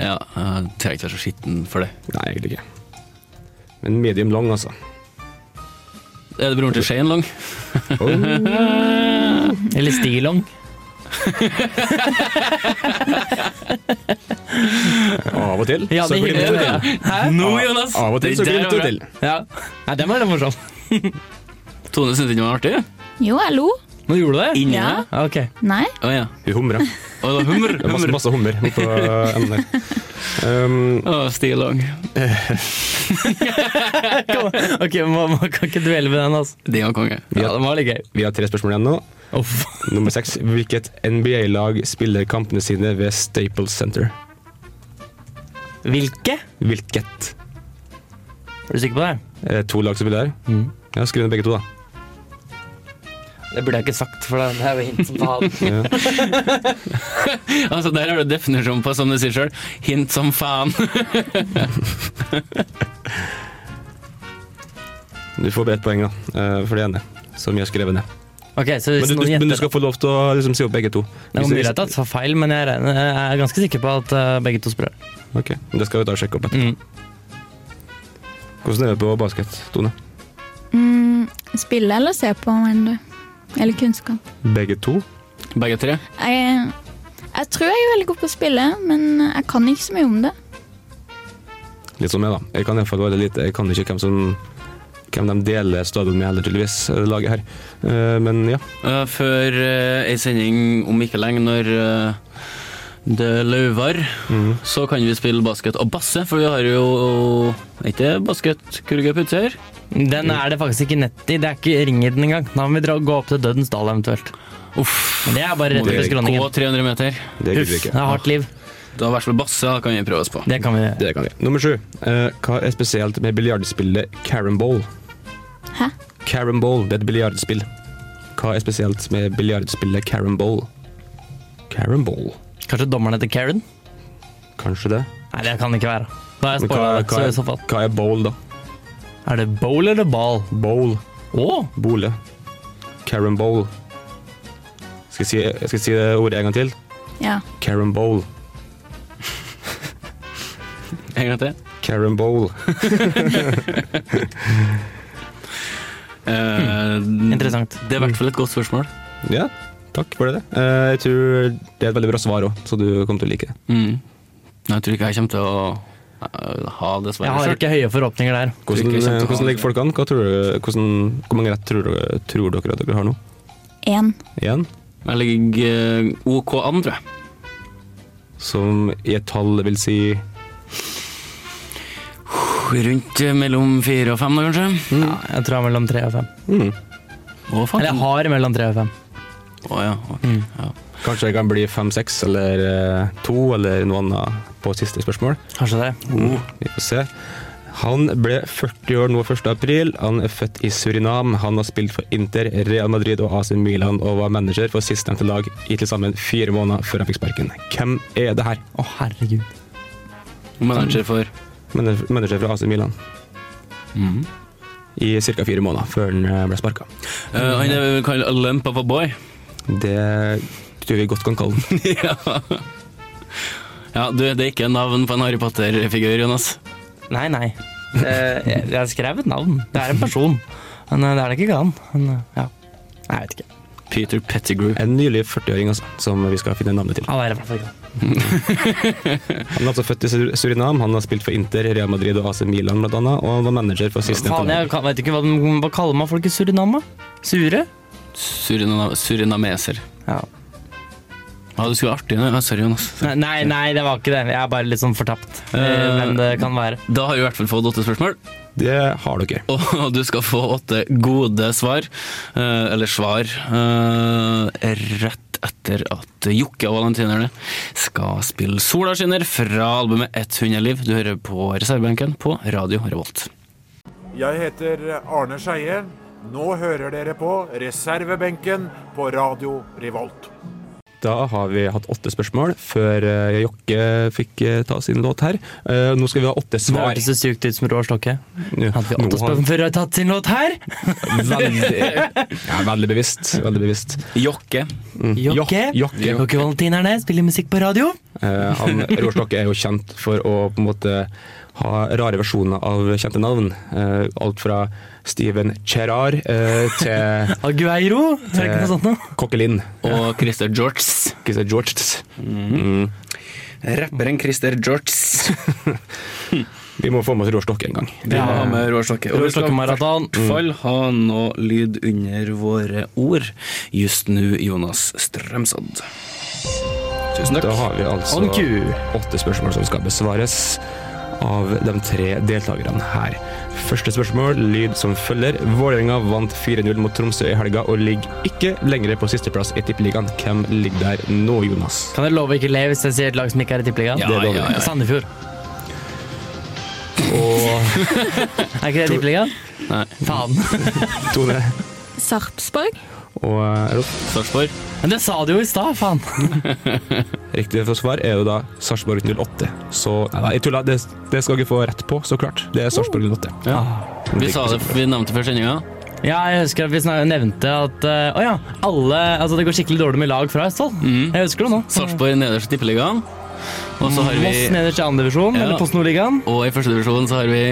[SPEAKER 5] Ja, jeg trenger ikke være så skitten for det.
[SPEAKER 6] Nei, egentlig ikke. Men medium lang, altså.
[SPEAKER 5] Er det broren til Shane Long?
[SPEAKER 3] Eller Stilong.
[SPEAKER 6] Av og til.
[SPEAKER 3] Ja,
[SPEAKER 6] så
[SPEAKER 3] det
[SPEAKER 6] glimter det
[SPEAKER 3] hiver jeg
[SPEAKER 6] til.
[SPEAKER 3] til. Hæ?
[SPEAKER 5] Nå, Jonas!
[SPEAKER 6] Av og til
[SPEAKER 5] Det
[SPEAKER 6] så
[SPEAKER 5] der var
[SPEAKER 6] glimter det
[SPEAKER 5] bra.
[SPEAKER 6] til.
[SPEAKER 3] [laughs] Ja. Nei, den var litt morsom.
[SPEAKER 5] Tone syntes ikke det var artig?
[SPEAKER 8] Jo, jeg lo.
[SPEAKER 3] Nå gjorde du det?
[SPEAKER 5] Inni
[SPEAKER 8] Ja.
[SPEAKER 5] deg?
[SPEAKER 3] Ja, Ok.
[SPEAKER 8] Nei.
[SPEAKER 5] Å ja.
[SPEAKER 6] Hun humrer.
[SPEAKER 5] Å, det var hummer.
[SPEAKER 6] Det er masse,
[SPEAKER 5] hummer.
[SPEAKER 6] masse hummer oppå
[SPEAKER 3] [laughs]
[SPEAKER 6] enden der. Um,
[SPEAKER 5] Å, Stig Lang.
[SPEAKER 3] Ok, Man man kan ikke dvele ved den, altså.
[SPEAKER 5] Det var konge.
[SPEAKER 3] Ja, den var litt gøy.
[SPEAKER 6] vi har tre spørsmål igjen nå.
[SPEAKER 3] Uff.
[SPEAKER 6] Nummer seks. Hvilket NBA-lag spiller kampene sine ved Staples Center?
[SPEAKER 3] Hvilke?
[SPEAKER 6] Hvilket?
[SPEAKER 3] Er du sikker på det?
[SPEAKER 6] Eh, To lag som spiller der?
[SPEAKER 3] Mm.
[SPEAKER 6] Ja, Skriv ned begge to, da.
[SPEAKER 3] Det burde jeg ikke sagt, for det er jo hint som faen.
[SPEAKER 5] Altså, Der har du definisjonen på, som du sier sjøl, hint som faen.
[SPEAKER 6] Du får bare ett poeng, da, eh, for det ene. Som jeg har skrevet ned.
[SPEAKER 3] Ok, så
[SPEAKER 6] Men du,
[SPEAKER 3] hvis
[SPEAKER 6] du,
[SPEAKER 3] sånn noen
[SPEAKER 6] men du
[SPEAKER 3] gjetter
[SPEAKER 6] skal få lov til å liksom, si opp begge to.
[SPEAKER 3] Det var
[SPEAKER 6] Hvis-
[SPEAKER 3] mulig at jeg tar feil, men jeg regner- jeg er ganske sikker på at eh, begge to spiller.
[SPEAKER 6] Ok, Det skal vi ta og sjekke opp etterpå.
[SPEAKER 3] Mm.
[SPEAKER 6] Hvordan er det på basket, Tone?
[SPEAKER 8] Mm, spille eller se på, mener du? Eller kunnskap?
[SPEAKER 6] Begge to?
[SPEAKER 5] Begge tre.
[SPEAKER 8] Jeg, eh, jeg tror jeg er veldig god på å spille, men jeg kan ikke så mye om det.
[SPEAKER 6] Litt som meg, da. Jeg kan iallfall veldig lite. Jeg kan ikke hvem som hvem de deler stadion med heller, tydeligvis, eh, laget her. Eh, Men ja.
[SPEAKER 5] Eh, før uh, ei sending om ikke lenge, når eh, det løver, så kan vi spille basket og basse, for vi har jo Er ikke det basketkurve på utsida her?
[SPEAKER 3] Den er det faktisk ikke nett i. Det er ikke ring i den engang. Da må vi dra, gå opp til Dødens dal eventuelt.
[SPEAKER 5] Uff.
[SPEAKER 3] Men det er bare rett
[SPEAKER 5] Må
[SPEAKER 3] under
[SPEAKER 5] vi gå
[SPEAKER 3] skråningen.
[SPEAKER 5] 300 meter?
[SPEAKER 6] Det
[SPEAKER 3] Huff,
[SPEAKER 6] gidder vi
[SPEAKER 3] det
[SPEAKER 6] ikke.
[SPEAKER 3] er hardt liv.
[SPEAKER 5] Da i hvert fall basse da kan vi prøve oss på.
[SPEAKER 3] Det kan vi gjøre.
[SPEAKER 6] Det kan vi. Nummer sju. Eh, Hva er spesielt med biljardspillet Caramball?
[SPEAKER 8] Hæ?
[SPEAKER 6] Caramball, det er et biljardspill. Hva er spesielt med biljardspillet Caramball? Caramball.
[SPEAKER 3] Kanskje dommeren heter Karen?
[SPEAKER 6] Kanskje det.
[SPEAKER 3] Nei, det kan det ikke være. Da er jeg
[SPEAKER 6] Men hva,
[SPEAKER 3] spoilet,
[SPEAKER 6] hva,
[SPEAKER 3] så i så
[SPEAKER 6] er,
[SPEAKER 3] fall.
[SPEAKER 6] hva er bowl, da?
[SPEAKER 3] Er det bowl eller ball?
[SPEAKER 6] Bowl.
[SPEAKER 3] Å!
[SPEAKER 6] Bole. Caramball. Skal jeg si, jeg skal si det ordet en gang til?
[SPEAKER 8] Ja.
[SPEAKER 6] Caramball.
[SPEAKER 5] En gang til.
[SPEAKER 6] Caramball.
[SPEAKER 5] Eh,
[SPEAKER 3] Interessant.
[SPEAKER 5] Det er i hvert fall et godt spørsmål.
[SPEAKER 6] Ja, takk for det. Eh, Jeg tror det er et veldig bra svar òg, så du kommer til å like det.
[SPEAKER 5] Mm. Jeg tror ikke jeg kommer til å eh, ha det
[SPEAKER 3] Jeg
[SPEAKER 5] svaret
[SPEAKER 3] har
[SPEAKER 5] selv.
[SPEAKER 3] ikke høye forhåpninger der.
[SPEAKER 5] Tror ikke jeg kommer
[SPEAKER 6] Hvordan,
[SPEAKER 5] til
[SPEAKER 6] eh,
[SPEAKER 5] å ha
[SPEAKER 6] hvordan ligger
[SPEAKER 5] det.
[SPEAKER 6] folk an? Hva tror du, hvordan, hvor mange rett tror, dere- tror dere at dere har nå?
[SPEAKER 8] Én.
[SPEAKER 6] Igjen,
[SPEAKER 5] Jeg ligger eh, OK an, tror jeg.
[SPEAKER 6] som i et tall vil si
[SPEAKER 5] Rundt eh, mellom fire og fem, da, kanskje.
[SPEAKER 3] Ja, jeg tror jeg er mellom tre og fem.
[SPEAKER 5] Å, faen.
[SPEAKER 3] Eller jeg har mellom tre og fem.
[SPEAKER 5] Å, ja. ok, ja.
[SPEAKER 6] Kanskje det kan bli fem-seks eller eh, to eller noe annet på siste spørsmål.
[SPEAKER 3] Kanskje det.
[SPEAKER 6] Vi får se. Han ble 40 år nå 1. april. Han er født i Surinam. Han har spilt for Inter, Real Madrid og AC Milan og var manager for sistnevnte lag i til sammen fire måneder før han fikk sparken. Hvem er det her?
[SPEAKER 3] Å, herregud.
[SPEAKER 5] Manager for
[SPEAKER 6] Manager manager fra AC Milan.
[SPEAKER 3] Mm.
[SPEAKER 6] I ca. fire måneder før han eh, ble sparka.
[SPEAKER 5] Eh, Han er vel kalt a lump of a boy.
[SPEAKER 6] Det tror vi godt kan kalle den.
[SPEAKER 5] [laughs] ja. ja, du, det er ikke navn på en Harry Potter-figur, Jonas.
[SPEAKER 3] Nei, nei. Eh, Jeg jeg skrev et navn. Det er en person. Men eh, det er det ikke han. Men, eh, ja. Nei, jeg vet ikke.
[SPEAKER 5] Peter Pettigrew.
[SPEAKER 6] En nylig 40-åring altså, som vi skal finne navnet til.
[SPEAKER 3] Han er i hvert fall ikke han.
[SPEAKER 6] Han er altså født i Sur- Surinam, han har spilt for Inter, Real Madrid og AC Milan blant annet, og han var manager for sistnevnte
[SPEAKER 3] Faen,
[SPEAKER 6] lag.
[SPEAKER 3] jeg kan- vet ikke hva, de- hva kaller man folk i Surinam, da? Sure?
[SPEAKER 5] Surina- Surinameser.
[SPEAKER 3] Ja.
[SPEAKER 5] Ja, du skulle vært artig. nå. Ja, sorry, Jonas.
[SPEAKER 3] Nei, Nei, nei, det var ikke det. Jeg er bare litt sånn fortapt. Eh, Hvem det kan være.
[SPEAKER 5] Da har vi i hvert fall fått åtte spørsmål, [laughs]
[SPEAKER 6] Det har dere.
[SPEAKER 5] og du skal få åtte gode svar. eh, Eller svar eh, rett etter at Jokke og valentinerne skal spille 'Sola skinner' fra albumet 100 liv. Du hører på reservebenken på Radio Revolt.
[SPEAKER 11] Jeg heter Arne Skeie. Nå hører dere på reservebenken på Radio Revolt.
[SPEAKER 6] Da har vi hatt åtte spørsmål før eh, Jokke fikk eh, ta sin låt her. Eh, Nå skal vi ha åtte
[SPEAKER 3] Det
[SPEAKER 6] svar.
[SPEAKER 3] hørtes så sykt ut som Rå Slokke.
[SPEAKER 6] Ja,
[SPEAKER 3] Hadde vi
[SPEAKER 6] nå
[SPEAKER 3] åtte
[SPEAKER 6] har-
[SPEAKER 3] spørsmål før jeg tatt sin låt her?
[SPEAKER 6] Veldig, ja, veldig bevisst. Veldig bevisst.
[SPEAKER 5] Jokke.
[SPEAKER 3] Jokke.
[SPEAKER 6] Jokke.
[SPEAKER 3] Jokke Valentinerne spiller musikk på radio.
[SPEAKER 6] Eh, han, Roar Stokke er jo kjent for å på en måte ha rare versjoner av kjente navn. Eh, alt fra Steven Gerrard eh, til
[SPEAKER 3] Agueiro?
[SPEAKER 5] det ikke noe sånt noe?
[SPEAKER 6] Kokkelin.
[SPEAKER 5] Og Christer Georges.
[SPEAKER 6] Christer Georges.
[SPEAKER 5] Mm. Rapperen Christer Georges.
[SPEAKER 6] Vi må få med oss Roar Stokke en gang.
[SPEAKER 5] Vi må ha med Roar Stokke. Og
[SPEAKER 3] Roar
[SPEAKER 5] vi skal i
[SPEAKER 3] Stokke-maraton.
[SPEAKER 5] hvert fall ha noe lyd under våre ord. Just nå Jonas Strømsodd. Tusen takk.
[SPEAKER 6] Da har vi altså
[SPEAKER 5] On cue.
[SPEAKER 6] åtte spørsmål som skal besvares av de tre deltakerne her. Første spørsmål, lyd som følger. Vålerenga vant 4-0 mot Tromsø i helga og ligger ikke lenger på sisteplass i Tippeligaen. Hvem ligger der nå, Jonas?
[SPEAKER 3] Kan jeg love ikke le hvis jeg sier et lag som ikke er i Tippeligaen?
[SPEAKER 6] Ja, Det lover ja, jeg. ja.
[SPEAKER 3] Sandefjord.
[SPEAKER 6] Og
[SPEAKER 3] [laughs] Er ikke det i Tippeligaen?
[SPEAKER 5] Nei.
[SPEAKER 3] Faen.
[SPEAKER 6] Tone
[SPEAKER 8] Sarpsborg.
[SPEAKER 6] og eh, Rolf.
[SPEAKER 5] Sarpsborg.
[SPEAKER 3] Men det sa du jo i stad, faen.
[SPEAKER 6] Riktig for svar er jo da Sarpsborg 08. Så nei, nei, jeg tulla. Det, det skal dere få rett på, så klart. Det er Sarpsborg Ah. 08.
[SPEAKER 5] Vi, sa det, vi nevnte før sendinga.
[SPEAKER 3] Ja, jeg husker at vi snak- nevnte at eh, Å ja, alle Altså, det går skikkelig dårlig med lag fra Østfold. Jeg husker det nå.
[SPEAKER 5] Sarpsborg nederst i Tippeligaen. Og Mhm. så har
[SPEAKER 3] Moss
[SPEAKER 5] vi
[SPEAKER 3] nederst i andre divisjon,
[SPEAKER 5] Ja.
[SPEAKER 3] eller Post Nordligaen.
[SPEAKER 5] Og i første divisjon så har vi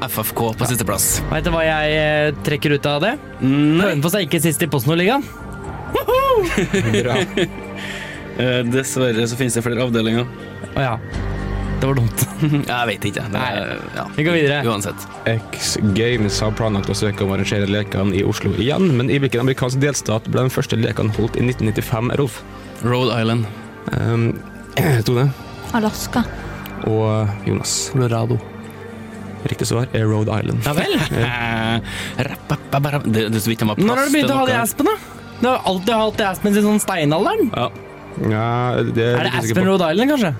[SPEAKER 5] FFK på sisteplass.
[SPEAKER 3] Vet du hva jeg eh, trekker ut av det? Hønefoss er ikke sist i Post Nordligaen.
[SPEAKER 6] [laughs] Bra.
[SPEAKER 5] Eh, dessverre så finnes det flere avdelinger.
[SPEAKER 3] Å ja. Det var dumt.
[SPEAKER 5] Mm, Jeg vet ikke. Det er, ja.
[SPEAKER 3] Vi går videre.
[SPEAKER 5] Uansett.
[SPEAKER 6] X Games har planlagt å søke om å arrangere lekene i Oslo igjen, men i hvilken amerikansk delstat ble de første lekene holdt i 1995, Rolf?
[SPEAKER 5] Road
[SPEAKER 3] [laughs]
[SPEAKER 5] Island.
[SPEAKER 6] Um, [clears throat] Tone
[SPEAKER 8] Alaska.
[SPEAKER 6] og Jonas.
[SPEAKER 3] Colorado.
[SPEAKER 6] Riktig svar er Rhode Island.
[SPEAKER 3] Ja
[SPEAKER 5] [laughs]
[SPEAKER 3] vel.
[SPEAKER 5] Eh, rapapaparap- Det det er så vidt han var
[SPEAKER 3] Når har
[SPEAKER 5] plass
[SPEAKER 3] du begynt å ha det i
[SPEAKER 5] noe.
[SPEAKER 3] Aspen, da? Du har alltid hatt det i Aspen siden sånn steinalderen.
[SPEAKER 5] Ja.
[SPEAKER 6] Ja, det er,
[SPEAKER 3] Er det
[SPEAKER 6] jeg litt usikker
[SPEAKER 3] Aspen
[SPEAKER 6] på.
[SPEAKER 3] Road Island, kanskje?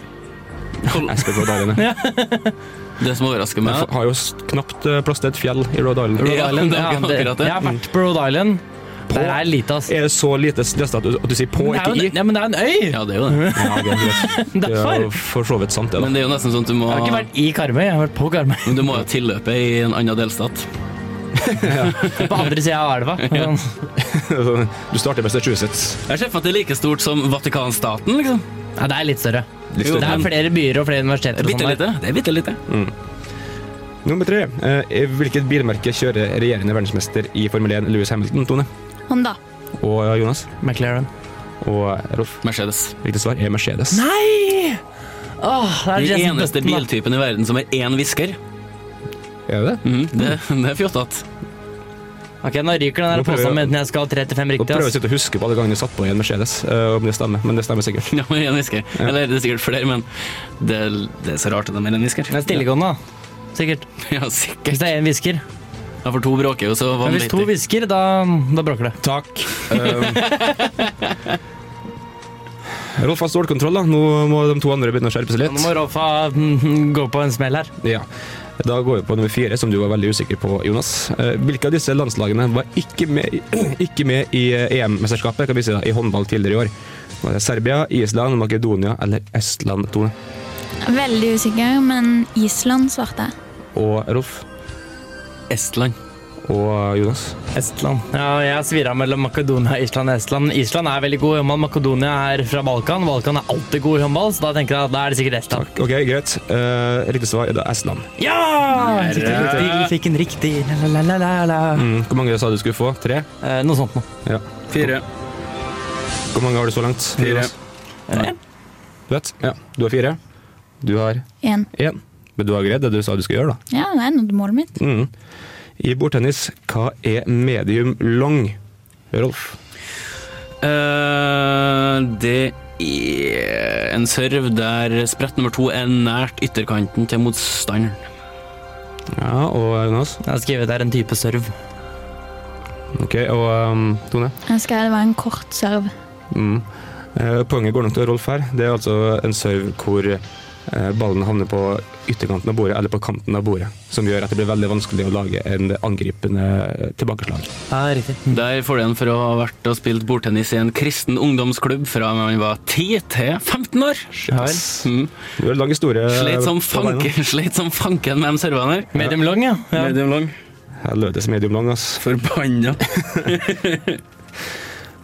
[SPEAKER 6] Aspen Rhode Island? ja.
[SPEAKER 5] Det som overrasker
[SPEAKER 6] De
[SPEAKER 5] meg
[SPEAKER 6] har jo s- knapt eh, plass til et fjell i Rhode Island.
[SPEAKER 5] Rhode
[SPEAKER 3] Rhode
[SPEAKER 5] Ja,
[SPEAKER 3] Island.
[SPEAKER 5] det er
[SPEAKER 3] Ja,
[SPEAKER 5] akkurat
[SPEAKER 3] det,
[SPEAKER 5] det.
[SPEAKER 3] jeg har vært på Rhode Island. Der er lite, ass.
[SPEAKER 6] Er det så lite delstat at, du- at du sier på,
[SPEAKER 3] Det er
[SPEAKER 6] ikke i?
[SPEAKER 3] jo, en- ja, men det er en øy!
[SPEAKER 5] Ja, det er jo det.
[SPEAKER 6] Ja, det er
[SPEAKER 3] [laughs]
[SPEAKER 6] greit. Det er jo
[SPEAKER 3] Derfor.
[SPEAKER 6] for så vidt sant, det. [laughs]
[SPEAKER 5] Men
[SPEAKER 6] da.
[SPEAKER 5] det er jo nesten sånn at du må
[SPEAKER 3] Jeg har ikke vært i Karmøy, jeg har vært på Karmøy. [laughs]
[SPEAKER 5] Men Du må jo tilløpe i en annen delstat.
[SPEAKER 3] På andre sida av elva. Ja,
[SPEAKER 6] Altså, Du starter med Massachusetts.
[SPEAKER 5] Jeg ser for meg at det er like stort som Vatikanstaten, liksom.
[SPEAKER 3] det er litt større.
[SPEAKER 6] Litt
[SPEAKER 3] Det
[SPEAKER 6] større.
[SPEAKER 3] er flere byer og flere universiteter. og
[SPEAKER 5] Bitte
[SPEAKER 3] sånn der.
[SPEAKER 5] lite. Det er bitte lite.
[SPEAKER 6] Nummer tre. Eh, i hvilket bilmerke kjører regjerende verdensmester i Formel 1, Lewis Hamilton, Tone?
[SPEAKER 8] Honda.
[SPEAKER 6] Og ja, Jonas
[SPEAKER 3] McLaren.
[SPEAKER 6] og eh, Rolf.
[SPEAKER 5] Mercedes.
[SPEAKER 6] Riktig svar er Mercedes.
[SPEAKER 3] Nei! Åh, det er
[SPEAKER 5] Den
[SPEAKER 3] Jason
[SPEAKER 5] eneste
[SPEAKER 3] Button, da.
[SPEAKER 5] biltypen i verden som er én hvisker.
[SPEAKER 6] Er det det?
[SPEAKER 5] Mhm, det, det er fjottete.
[SPEAKER 3] Ok, Nå ryker den der
[SPEAKER 6] Nå prøver
[SPEAKER 3] påstanden
[SPEAKER 6] jeg-
[SPEAKER 3] enten jeg skal ha tre til fem
[SPEAKER 6] Nå
[SPEAKER 3] riktig.
[SPEAKER 6] prøver jeg å
[SPEAKER 3] Ass.
[SPEAKER 6] sitte og huske på alle gangene du satt på i en Mercedes, eh, om det stemmer. Men det stemmer sikkert.
[SPEAKER 5] [laughs] Ja, men én hvisker. Eller det er sikkert flere, men det, det er så rart at de er en hvisker.
[SPEAKER 3] Det er stillegående, da. Sikkert.
[SPEAKER 5] [laughs] Ja, sikkert.
[SPEAKER 3] Hvis det er én hvisker.
[SPEAKER 5] Ja, for to bråker jo så
[SPEAKER 3] Men hvis to
[SPEAKER 5] vanvittig.
[SPEAKER 3] hvisker, da, da bråker det.
[SPEAKER 6] [laughs] Takk. Um, [laughs] Rolf har stålkontroll, da. Nå må de to andre begynne å skjerpe seg
[SPEAKER 3] Nå må
[SPEAKER 6] litt.
[SPEAKER 3] Rolfa mm, [laughs] gå på en smell her.
[SPEAKER 6] Ja. Da går vi på nummer fire, som du var veldig usikker på, Jonas. Eh, Hvilke av disse landslagene var ikke med, [clears throat] ikke med i eh, EM-mesterskapet kan vi si da, i håndball tidligere i år? Var det Serbia, Island, Makedonia eller Estland, Tone?
[SPEAKER 8] Veldig usikker, men Island svarte jeg.
[SPEAKER 6] Og Rolf
[SPEAKER 5] Estland.
[SPEAKER 6] og Jonas.
[SPEAKER 3] Estland. Ja, jeg svirra mellom Makedonia, Island og Estland. Island er veldig god i håndball. Makedonia er fra Balkan. Balkan er alltid god i håndball, så da tenker jeg at da er det sikkert Estland.
[SPEAKER 6] Takk. Ok, greit. Eh, riktig svar er da Estland.
[SPEAKER 3] Ja! Jeg fikk en riktig, vi fikk en riktig. La, la, la, la, la.
[SPEAKER 6] Mm. Hvor mange sa du skulle få? Tre?
[SPEAKER 3] Eh, noe sånt noe.
[SPEAKER 6] Ja.
[SPEAKER 5] Fire.
[SPEAKER 6] Hvor mange har du så langt?
[SPEAKER 5] Fire.
[SPEAKER 6] Jonas? Du vet? Ja. Du har fire. Du har
[SPEAKER 8] Én.
[SPEAKER 6] én. Men du har greid det du sa du skulle gjøre, da.
[SPEAKER 8] Ja, det er nådd målet mitt.
[SPEAKER 6] Mm. I bordtennis, hva er medium long? Rolf.
[SPEAKER 5] Eh, det er en serve der sprett nummer to er nært ytterkanten til motstanderen.
[SPEAKER 6] Ja, og Jonas.
[SPEAKER 3] Jeg har skrevet der en type serv.
[SPEAKER 6] Ok, og um, Tone.
[SPEAKER 8] Jeg husker det var en kort serve.
[SPEAKER 6] Mm. Eh, poenget går nok til Rolf her. Det er altså en serve hvor eh, ballen havner på ytterkanten av bordet eller på kanten av bordet, som gjør at det blir veldig vanskelig å lage en angripende eh, tilbakeslag.
[SPEAKER 3] Ja, riktig.
[SPEAKER 5] Der får du en for å ha vært og spilt bordtennis i en kristen ungdomsklubb fra man var 10 til 15 år.
[SPEAKER 3] Ja vel.
[SPEAKER 5] Mm.
[SPEAKER 6] Du har en lang historie.
[SPEAKER 3] Eh,
[SPEAKER 5] Sleit som,
[SPEAKER 6] på beina.
[SPEAKER 5] fanken, [laughs] sleit som fanken med de servene her.
[SPEAKER 3] Medium long, ja. ja.
[SPEAKER 5] Medium lang.
[SPEAKER 6] Helvetes medium lang, ass.
[SPEAKER 5] Forbanna.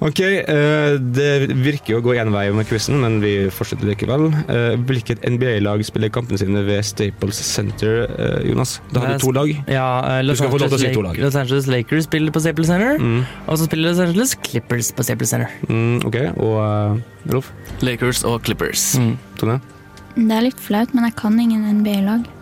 [SPEAKER 6] Ok, eh, det virker jo å gå én vei med quizen, men vi fortsetter likevel. Eh, hvilket NBA-lag spiller kampene sine ved Staples Center, eh, Jonas? Da har du to lag.
[SPEAKER 3] Ja, eh,
[SPEAKER 6] Du
[SPEAKER 3] Los,
[SPEAKER 6] skal få lov til å
[SPEAKER 3] Angeles,
[SPEAKER 6] si to
[SPEAKER 3] Lak-
[SPEAKER 6] lag.
[SPEAKER 3] Los Angeles Lakers spiller på Staples Center, og så spiller Los Angeles Clippers på Staples Center.
[SPEAKER 6] Mm, ok, og eh, Rolf?
[SPEAKER 5] [laughs] Lakers og Clippers.
[SPEAKER 6] Tone?
[SPEAKER 8] Det er litt flaut, men jeg kan ingen NBA-lag.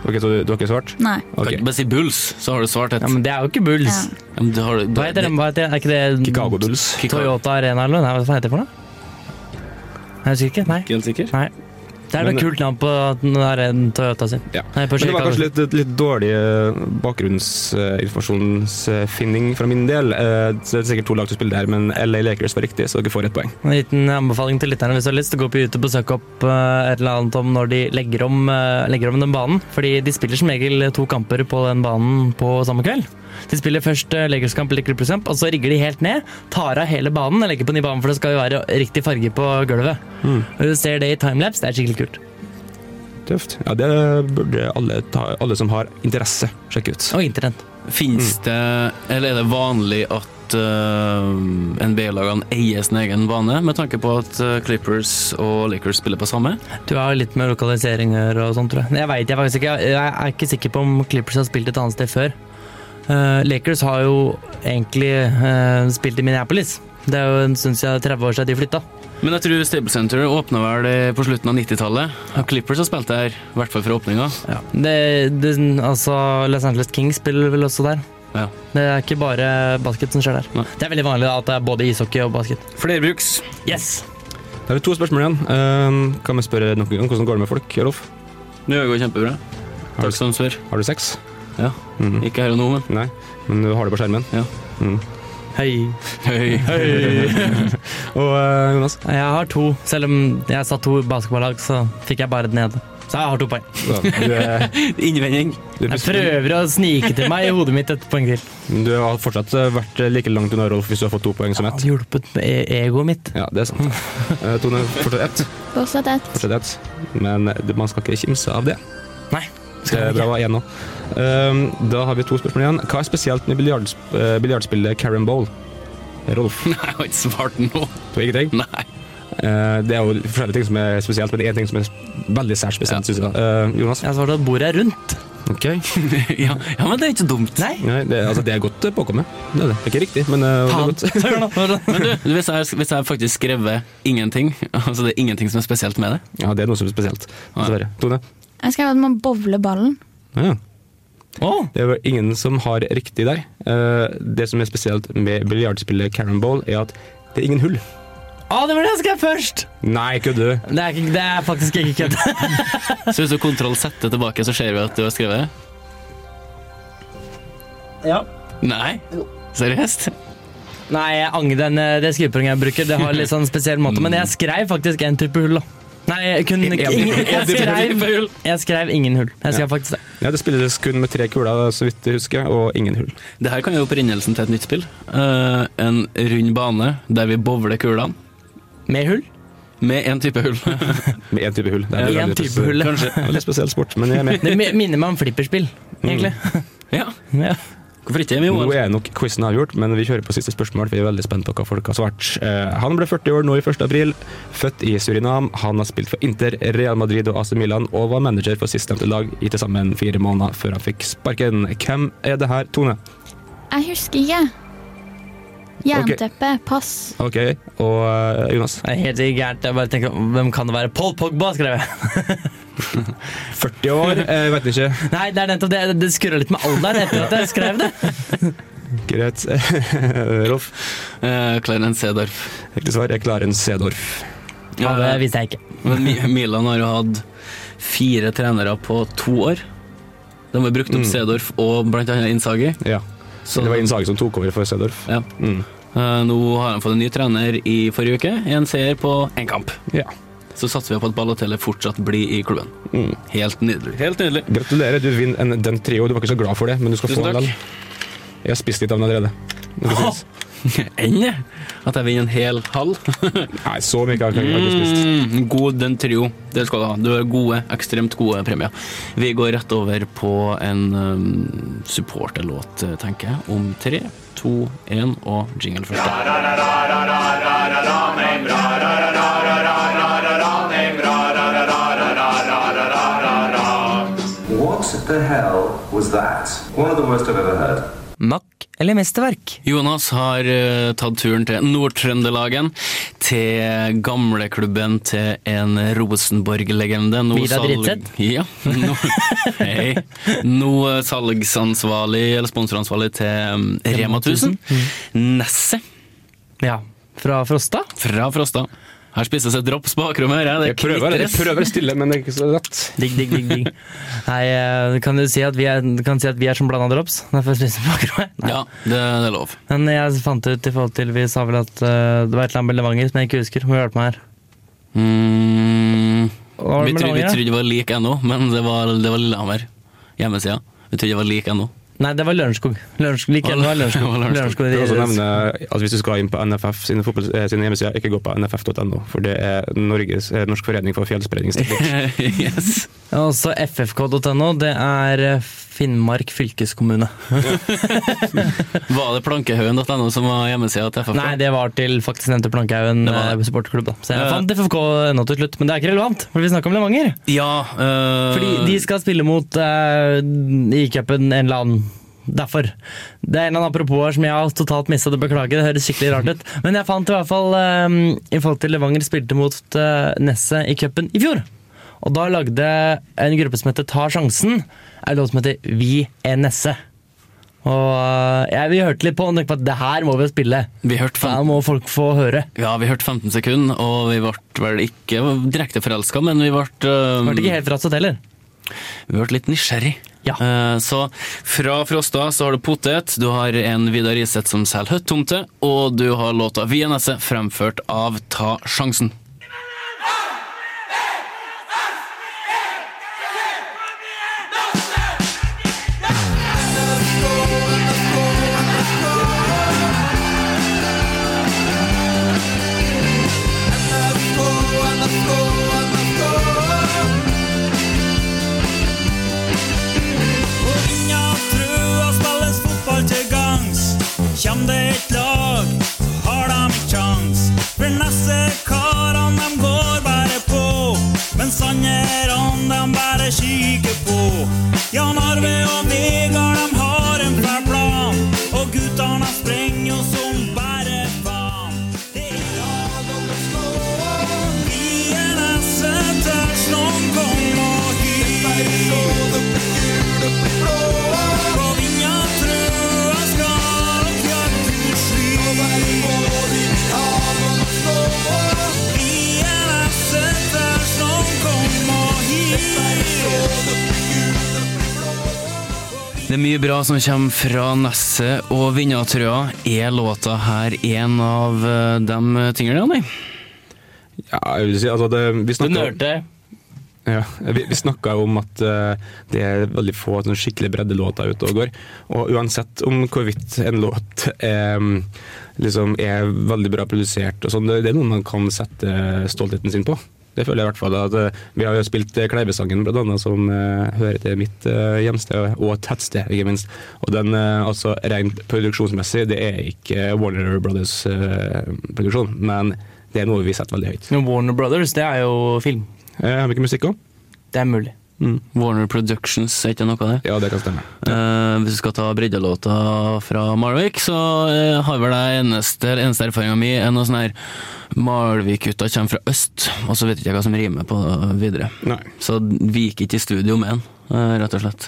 [SPEAKER 6] Ok, Så du, du har ikke svart?
[SPEAKER 8] Nei.
[SPEAKER 5] Kan ikke bare si Bulls, så har du svart et.
[SPEAKER 3] Ja, men det er jo ikke Bulls.
[SPEAKER 8] Ja.
[SPEAKER 5] Ja, men du har, du,
[SPEAKER 3] Hva heter den? Hva heter den? Er ikke det
[SPEAKER 6] Chicago Bulls.
[SPEAKER 3] Toyota Arena eller noe? Nei, hva heter det for noe? Jeg husker ikke. Nei.
[SPEAKER 5] Ikke helt sikker?
[SPEAKER 3] Nei. Det er
[SPEAKER 6] Men-
[SPEAKER 3] noe kult navn på den der Toyota sin.
[SPEAKER 6] Ja.
[SPEAKER 3] Nei,
[SPEAKER 6] Men det
[SPEAKER 3] på
[SPEAKER 6] var
[SPEAKER 3] Chicago
[SPEAKER 6] kanskje
[SPEAKER 3] sin.
[SPEAKER 6] litt, litt, litt dårlig eh, bakgrunnsinformasjonsfinning fra min del. Eh, så det er sikkert to lag som spiller der, men LA Lakers var riktig, så dere får ett poeng.
[SPEAKER 3] En liten anbefaling til lytterne hvis du har lyst til å gå på YouTube og søke opp eh, et eller annet om når de legger om, eh, legger om den banen. Fordi de spiller som regel to kamper på den banen på samme kveld. De spiller først eh, Lakers-kamp, eller Clippers-kamp, og så rigger de helt ned. Tar av hele banen og legger på ny bane, for det skal jo være riktig farge på gulvet.
[SPEAKER 6] Mm.
[SPEAKER 3] Du ser det i timelapse, det er skikkelig kult.
[SPEAKER 6] Tøft. Ja, det burde alle, ta, alle som har interesse, sjekke ut.
[SPEAKER 3] Og internett.
[SPEAKER 5] Fins det, eller er det vanlig at eh, NBA-lagene eier sin egen bane, med tanke på at eh, Clippers og Lakers spiller på samme?
[SPEAKER 3] Du har litt med lokaliseringer og sånt, tror jeg. Jeg vet, jeg faktisk ikke. Jeg er ikke sikker på om Clippers har spilt et annet sted før. Eh, Lakers har jo egentlig eh, spilt i Minneapolis. Det er jo en stund siden 30 år siden de flytta.
[SPEAKER 5] Men jeg tror Stable Center åpna vel eh, på slutten av 90-tallet. Og Clippers har spilt der, i hvert fall fra åpninga.
[SPEAKER 3] Det, det, altså, Los Angeles Kings spiller vel også der.
[SPEAKER 5] Ja.
[SPEAKER 3] Det er ikke bare basket som skjer der.
[SPEAKER 5] Nei.
[SPEAKER 3] Det er veldig vanlig at det er både ishockey og basket.
[SPEAKER 5] Flerbruks.
[SPEAKER 3] Yes!
[SPEAKER 6] Da er det to spørsmål igjen. Eh, kan vi spørre noen gang hvordan går det med folk, Rolf?
[SPEAKER 5] Det går kjempebra.
[SPEAKER 6] Har
[SPEAKER 5] Takk
[SPEAKER 6] du,
[SPEAKER 5] som spør.
[SPEAKER 6] har du sex?
[SPEAKER 5] Ja.
[SPEAKER 6] Mhm.
[SPEAKER 5] Ikke her og nå, [laughs] men.
[SPEAKER 6] Nei, men du har det på skjermen.
[SPEAKER 5] Ja.
[SPEAKER 6] Mm.
[SPEAKER 3] Hei.
[SPEAKER 5] Høy.
[SPEAKER 6] Og eh, Jonas?
[SPEAKER 3] [laughs] Jeg har to. Selv om jeg satt to basketballag, så fikk jeg bare den ene. Så jeg har to poeng.
[SPEAKER 6] Ja, du, [laughs] er,
[SPEAKER 5] Innvending.
[SPEAKER 6] du, er
[SPEAKER 3] Jeg prøver å snike til meg i hodet mitt et poeng til.
[SPEAKER 6] du har fortsatt eh, vært like langt unna Rolf hvis du har fått to poeng som ett.
[SPEAKER 3] hadde hjulpet med e- egoet mitt.
[SPEAKER 6] Ja, det er [laughs] sant. Eh, Tone, fortsatt ett.
[SPEAKER 8] Fortsatt ett.
[SPEAKER 6] Fortsatt ett. Men eh, det- man skal ikke kimse av det.
[SPEAKER 3] Nei.
[SPEAKER 6] Det er bra å ha én nå. Um, da har vi to spørsmål igjen. Hva er spesielt med biljards- eh, biljardspillet Carrom Bowl? Rolf,
[SPEAKER 5] [laughs] Nei, jeg har ikke svart nå. [laughs]
[SPEAKER 6] du har ingenting?
[SPEAKER 5] Nei.
[SPEAKER 6] Eh, det er jo forskjellige ting som er spesielt, men det er én ting som er veldig sært spesielt, synes jeg. Eh, Jonas?
[SPEAKER 3] Jeg har svart at bordet er rundt.
[SPEAKER 6] Ok.
[SPEAKER 5] ja, ja, men det er ikke så dumt.
[SPEAKER 3] Nei.
[SPEAKER 6] Nei, det, altså, det er godt eh, påkommet. Det er det. Det er ikke riktig, men eh, det er
[SPEAKER 3] Faen.
[SPEAKER 6] godt.
[SPEAKER 3] Så gjør det.
[SPEAKER 5] Men du, hvis jeg, hvis jeg har faktisk skrevet ingenting, [laughs] altså det er ingenting som er spesielt med det
[SPEAKER 6] Ja, det er noe som er spesielt. Dessverre. Tone?
[SPEAKER 8] Jeg skrev at man bowler ballen.
[SPEAKER 6] Ja.
[SPEAKER 3] Å,
[SPEAKER 6] Det er vel ingen som har riktig der. Eh, det som er spesielt med biljardspillet Carrom Bowl, er at det er ingen hull.
[SPEAKER 3] å, det var det jeg skrev først!
[SPEAKER 6] Nei, kødder du?
[SPEAKER 3] Det er, ikke, det er faktisk ikke kødd.
[SPEAKER 5] Så hvis du kontroll setter tilbake, så ser vi at du har skrevet det?
[SPEAKER 3] [laughs] Ja.
[SPEAKER 5] Nei? Seriøst?
[SPEAKER 3] Nei, jeg angrer den, eh, det skriveprogrammet jeg bruker. Det har litt sånn spesiell måte, men jeg skrev faktisk en type hull, da. Nei, jeg, kunne, ikke- ingen, jeg, [laughs] skrev, jeg skrev ingen hull. Jeg skrev faktisk det.
[SPEAKER 6] Ja, det spilles kun med tre kuler, så vidt jeg husker, og ingen hull.
[SPEAKER 5] Det her kan jo opprinnelsen til et nytt spill. Eh, en rund bane der vi bowler kulene
[SPEAKER 3] Med hull?
[SPEAKER 5] med én type hull.
[SPEAKER 6] Med én type [laughs] hull. Det
[SPEAKER 3] Én
[SPEAKER 6] veldig
[SPEAKER 3] type
[SPEAKER 6] spesiell-
[SPEAKER 3] hull, ja.
[SPEAKER 6] Kanskje. Veldig spesiell sport, men jeg er med.
[SPEAKER 3] Det [laughs] mi- minner meg om flipperspill, egentlig.
[SPEAKER 5] ja,
[SPEAKER 3] [laughs] Ja.
[SPEAKER 5] hvorfor ikke? Vi
[SPEAKER 6] Nå
[SPEAKER 5] må
[SPEAKER 6] er nok quizen avgjort, men vi kjører på siste spørsmål. for Vi er veldig spent på hva folk har svart. Eh, han ble 40 år nå i 1. april, født i Surinam. Han har spilt for Inter, Real Madrid og AC Milan, og var manager for sistnevnte lag i til sammen fire måneder før han fikk sparken. Hvem er det her, Tone?
[SPEAKER 8] Jeg husker ikke. Jernteppe. Pass.
[SPEAKER 6] Ok, og eh, Jonas?
[SPEAKER 3] Det er helt gærent. Jeg bare tenker, Hvem kan det være? Paul Pogba, skrev jeg. [laughs]
[SPEAKER 6] 40 år? [laughs] Jeg vet ikke.
[SPEAKER 3] Nei, det er nettopp det. Det skurra litt med alderen etter at jeg skrev det.
[SPEAKER 6] Greit. [laughs] Rolf,
[SPEAKER 5] uh, Clarence Seedorf.
[SPEAKER 6] riktig svar er Clarence Sedorf.
[SPEAKER 3] Ja, det
[SPEAKER 5] Eh,
[SPEAKER 3] visste jeg ikke.
[SPEAKER 5] men Mi- Milan har jo hatt fire trenere på to år. De har brukt opp Seedorf og blant annet Innsagi.
[SPEAKER 6] Ja.
[SPEAKER 5] Så
[SPEAKER 6] Mm. Det var Innsage som tok over for Sedorf.
[SPEAKER 5] Ja.
[SPEAKER 6] Mm.
[SPEAKER 5] Eh, nå har han fått en ny trener i forrige uke. En seier på én kamp.
[SPEAKER 6] Ja.
[SPEAKER 5] Så satser vi på at Balotelli fortsatt blir i klubben.
[SPEAKER 6] Mm.
[SPEAKER 5] Helt nydelig. Helt nydelig.
[SPEAKER 6] Gratulerer, du vinner en den trio. Du var ikke så glad for det, men du skal
[SPEAKER 5] Tusen
[SPEAKER 6] få den
[SPEAKER 5] takk.
[SPEAKER 6] likevel. Jeg har spist litt av den allerede. Hva synes?
[SPEAKER 5] Enn det? At jeg vinner en hel [laughs] halv.
[SPEAKER 6] Nei, så mye har jeg ikke- har jeg ikke spist.
[SPEAKER 5] Mm, god den trio. Det skal du ha. Du har gode, ekstremt gode premier. Vi går rett over på en um, supporterlåt, eh, tenker jeg. Om tre, to, én og jingle først.
[SPEAKER 12] What the hell was that? One of the worst I've ever heard.
[SPEAKER 5] Mack eller mesterverk? Jonas har eh, tatt turen til Nord-Trøndelagen. Til gamleklubben til en Rosenborg-legende. nå
[SPEAKER 3] Vidar
[SPEAKER 5] salg-
[SPEAKER 3] Dridseth?
[SPEAKER 5] Ja. Nå, [laughs] hei. nå eh, salgsansvarlig, eller sponsoransvarlig til mm, Rema 1000.
[SPEAKER 3] Mm.
[SPEAKER 5] Nesset.
[SPEAKER 3] Ja. Fra Frosta?
[SPEAKER 5] Fra Frosta. Her spises et drops på bakrommet, hører jeg. Det
[SPEAKER 6] Jeg prøver, jeg
[SPEAKER 5] knitres.
[SPEAKER 6] prøver stille, men det er ikke så lett.
[SPEAKER 3] Digg, digg, digg. digg. [laughs] Nei, eh, kan du si at vi er, du kan si at vi er som blanda drops? Derfor spiser vi bakrommet. Nei.
[SPEAKER 5] Ja, det, det er lov.
[SPEAKER 3] Men jeg fant ut i forhold til Vi sa vel at eh, det var et eller annet med Levanger som jeg ikke husker. Må hjelpe meg her.
[SPEAKER 5] Mm,
[SPEAKER 3] var
[SPEAKER 5] vi trodde vi
[SPEAKER 3] det med Levanger, da?
[SPEAKER 5] trodde det var lik ennå, men det var, det var Lillehammer. Hjemmesida. Vi trodde det var lik ennå. [laughs]
[SPEAKER 3] Nei, det var Lørenskog. Lørenskog like, det var Lørenskog. Lørenskog.
[SPEAKER 6] Jeg vil også
[SPEAKER 3] Lørenskog.
[SPEAKER 6] nevne at hvis du skal inn på NFF sine, fotball, eh, sine hjemmesider, ikke gå på nff.no, for det er Norges, eh, Norsk forening for fjellspredningsteknikk.
[SPEAKER 5] yes.
[SPEAKER 3] Og så ffk.no. Det er eh, Finnmark fylkeskommune.
[SPEAKER 5] Var det plankehaugen.no som var hjemmesida til FFK?
[SPEAKER 3] Nei, det var til faktisk nevnte Plankehaugen
[SPEAKER 5] Det var det.
[SPEAKER 3] eh, supporterklubb. da. Så jeg
[SPEAKER 5] Ja, ja.
[SPEAKER 3] fant ffk.no til slutt, men det er ikke relevant, for vi snakker om Levanger.
[SPEAKER 5] Ja, øh,
[SPEAKER 3] Fordi de skal spille mot eh, i cupen en eller annen Derfor. Det er en eller annen apropos her som jeg har totalt mista. Beklager, det høres skikkelig rart ut. Men jeg fant i hvert fall eh, i forhold til Levanger spilte mot uh, Nesset i cupen i fjor. Og da lagde en gruppe som heter Ta sjansen, en låt som heter Vi er Nesset. Og eh, jeg, vi hørte litt på og tenkte på at det her må vi jo spille.
[SPEAKER 5] Vi hørte
[SPEAKER 3] Her må folk få høre.
[SPEAKER 5] Ja, vi hørte 15 sekunder, og vi ble vel ikke direkte forelska, men vi ble øh,
[SPEAKER 3] Hørte ikke helt fra oss heller.
[SPEAKER 5] Vi ble litt nysgjerrig. Eh, Så fra Frosta så har du Potet, du har en Vidar Iseth som selger høtttomte, og du har låta VNS fremført av Ta sjansen.
[SPEAKER 13] Unna trua spilles fotball til gangs. Kjem det et lag, har dem ikke kjangs. For neste karene, dem går bare på. Mens anderne, dem bare kikker på. Jan Arve og Vegard, dem har en fæl plan. Og guttene sprenger jo som bare faen. Det er lag om å slå. Vi er nesten der snøen kom og
[SPEAKER 5] Det er mye bra som kommer fra Nesset og Vinnatrøa. Er låta her en av eh, de tingene, Jonny?
[SPEAKER 6] [laughs] Ja, jeg vil si, altså det, vi
[SPEAKER 5] Du
[SPEAKER 6] snakker-
[SPEAKER 5] nølte.
[SPEAKER 6] Ja, vi, vi snakka jo om at eh, det er veldig få sånn skikkelig breddelåter ute og går. Og uansett om hvorvidt en låt eh, liksom er veldig bra produsert og sånn, det, det er noe man kan sette stoltheten sin på. Det føler jeg i hvert fall. at eh, Vi har jo spilt eh, Kleivesangen blant annet, som eh, hører til mitt eh, hjemsted og tettsted, ikke minst. Og den, eh, altså rent produksjonsmessig, det er ikke Warner Brothers-produksjon, men det er noe vi setter veldig høyt. Eh,
[SPEAKER 3] Men Warner Brothers, det er jo film.
[SPEAKER 6] Har vi ikke musikk òg?
[SPEAKER 3] Det er mulig.
[SPEAKER 5] Warner Productions, er ikke det noe av det?
[SPEAKER 6] Ja, det kan stemme.
[SPEAKER 5] Eh, hvis du skal ta breddelåta fra Malvik, så eh, har vel det eneste, eller eneste erfaringa mi er noe sånn her Malvik-gutta kommer fra øst, og så vet ikke jeg hva som rimer på det videre. Så vi gikk ikke i studio med en, eh, rett og slett.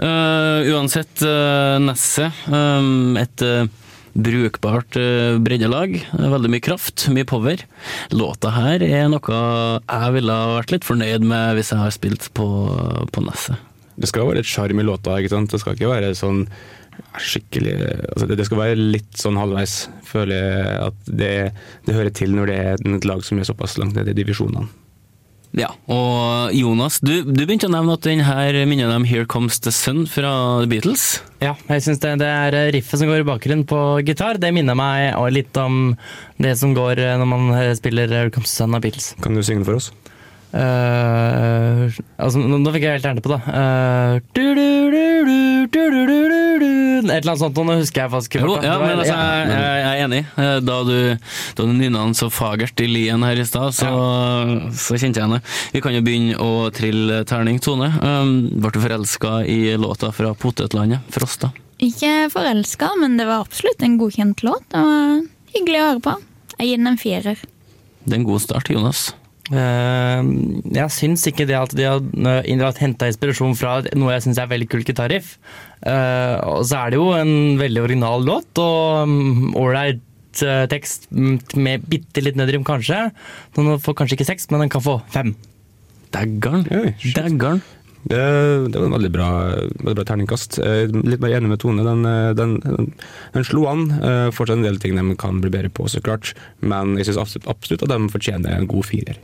[SPEAKER 5] Eh, uansett, uh, Nesset eh, et eh, brukbart eh, breddelag. Veldig mye kraft, mye power. Låta her er noe jeg ville ha vært litt fornøyd med hvis jeg har spilt på, på Nesset.
[SPEAKER 6] Det skal være litt sjarm i låta, ikke sant? Det skal ikke være sånn skikkelig altså det, det skal være litt sånn halvveis, føler jeg at det, det hører til når det er et lag som er såpass langt nede i divisjonene.
[SPEAKER 5] Ja, og Jonas, du, du begynte å nevne at den her minner dem Here Comes the Sun fra The Beatles.
[SPEAKER 3] Ja, jeg synes det, det er riffet som går i bakgrunnen på gitar. Det minner meg også litt om det som går når man spiller Here Comes the Sun av Beatles.
[SPEAKER 6] Kan du synge for oss?
[SPEAKER 3] altså, nå, nå fikk jeg helt hjerne på det. Eh, du, du, du, du, du, du, du, du, du, et eller annet sånt, nå husker jeg faktisk ikke.
[SPEAKER 5] Jo,
[SPEAKER 3] bort,
[SPEAKER 5] ja,
[SPEAKER 3] da. Det var-
[SPEAKER 5] men altså, jeg, jeg, jeg er enig. Eh, Da du, da du nynna den så fagert i Lien her i stad, så, så kjente jeg henne. Vi kan jo begynne å trille terning, Tone. Um, ble du forelska i låta fra Potetlandet, Frosta?
[SPEAKER 8] Ikke forelska, men det var absolutt en godkjent låt. Det var hyggelig å høre på. Jeg gir den en firer.
[SPEAKER 5] Det er en god start, Jonas.
[SPEAKER 3] Eh, jeg syns ikke det at de har henta inspirasjon fra noe jeg syns er veldig kult gitarriff. Eh, og så er det jo en veldig original låt og mm, ålreit eh, tekst mm, med bitte litt nødrim, kanskje. Så Den får kanskje ikke seks, men den kan få fem.
[SPEAKER 5] Dæggeren. Dæggeren.
[SPEAKER 6] Det, det var en veldig bra, veldig bra terningkast. Eh, Litt mer enig med Tone. Den, eh, den, den, den slo an. Eh, Fortsatt en del ting de kan bli bedre på, så klart. Men jeg syns absolutt, absolutt at de fortjener en god firer.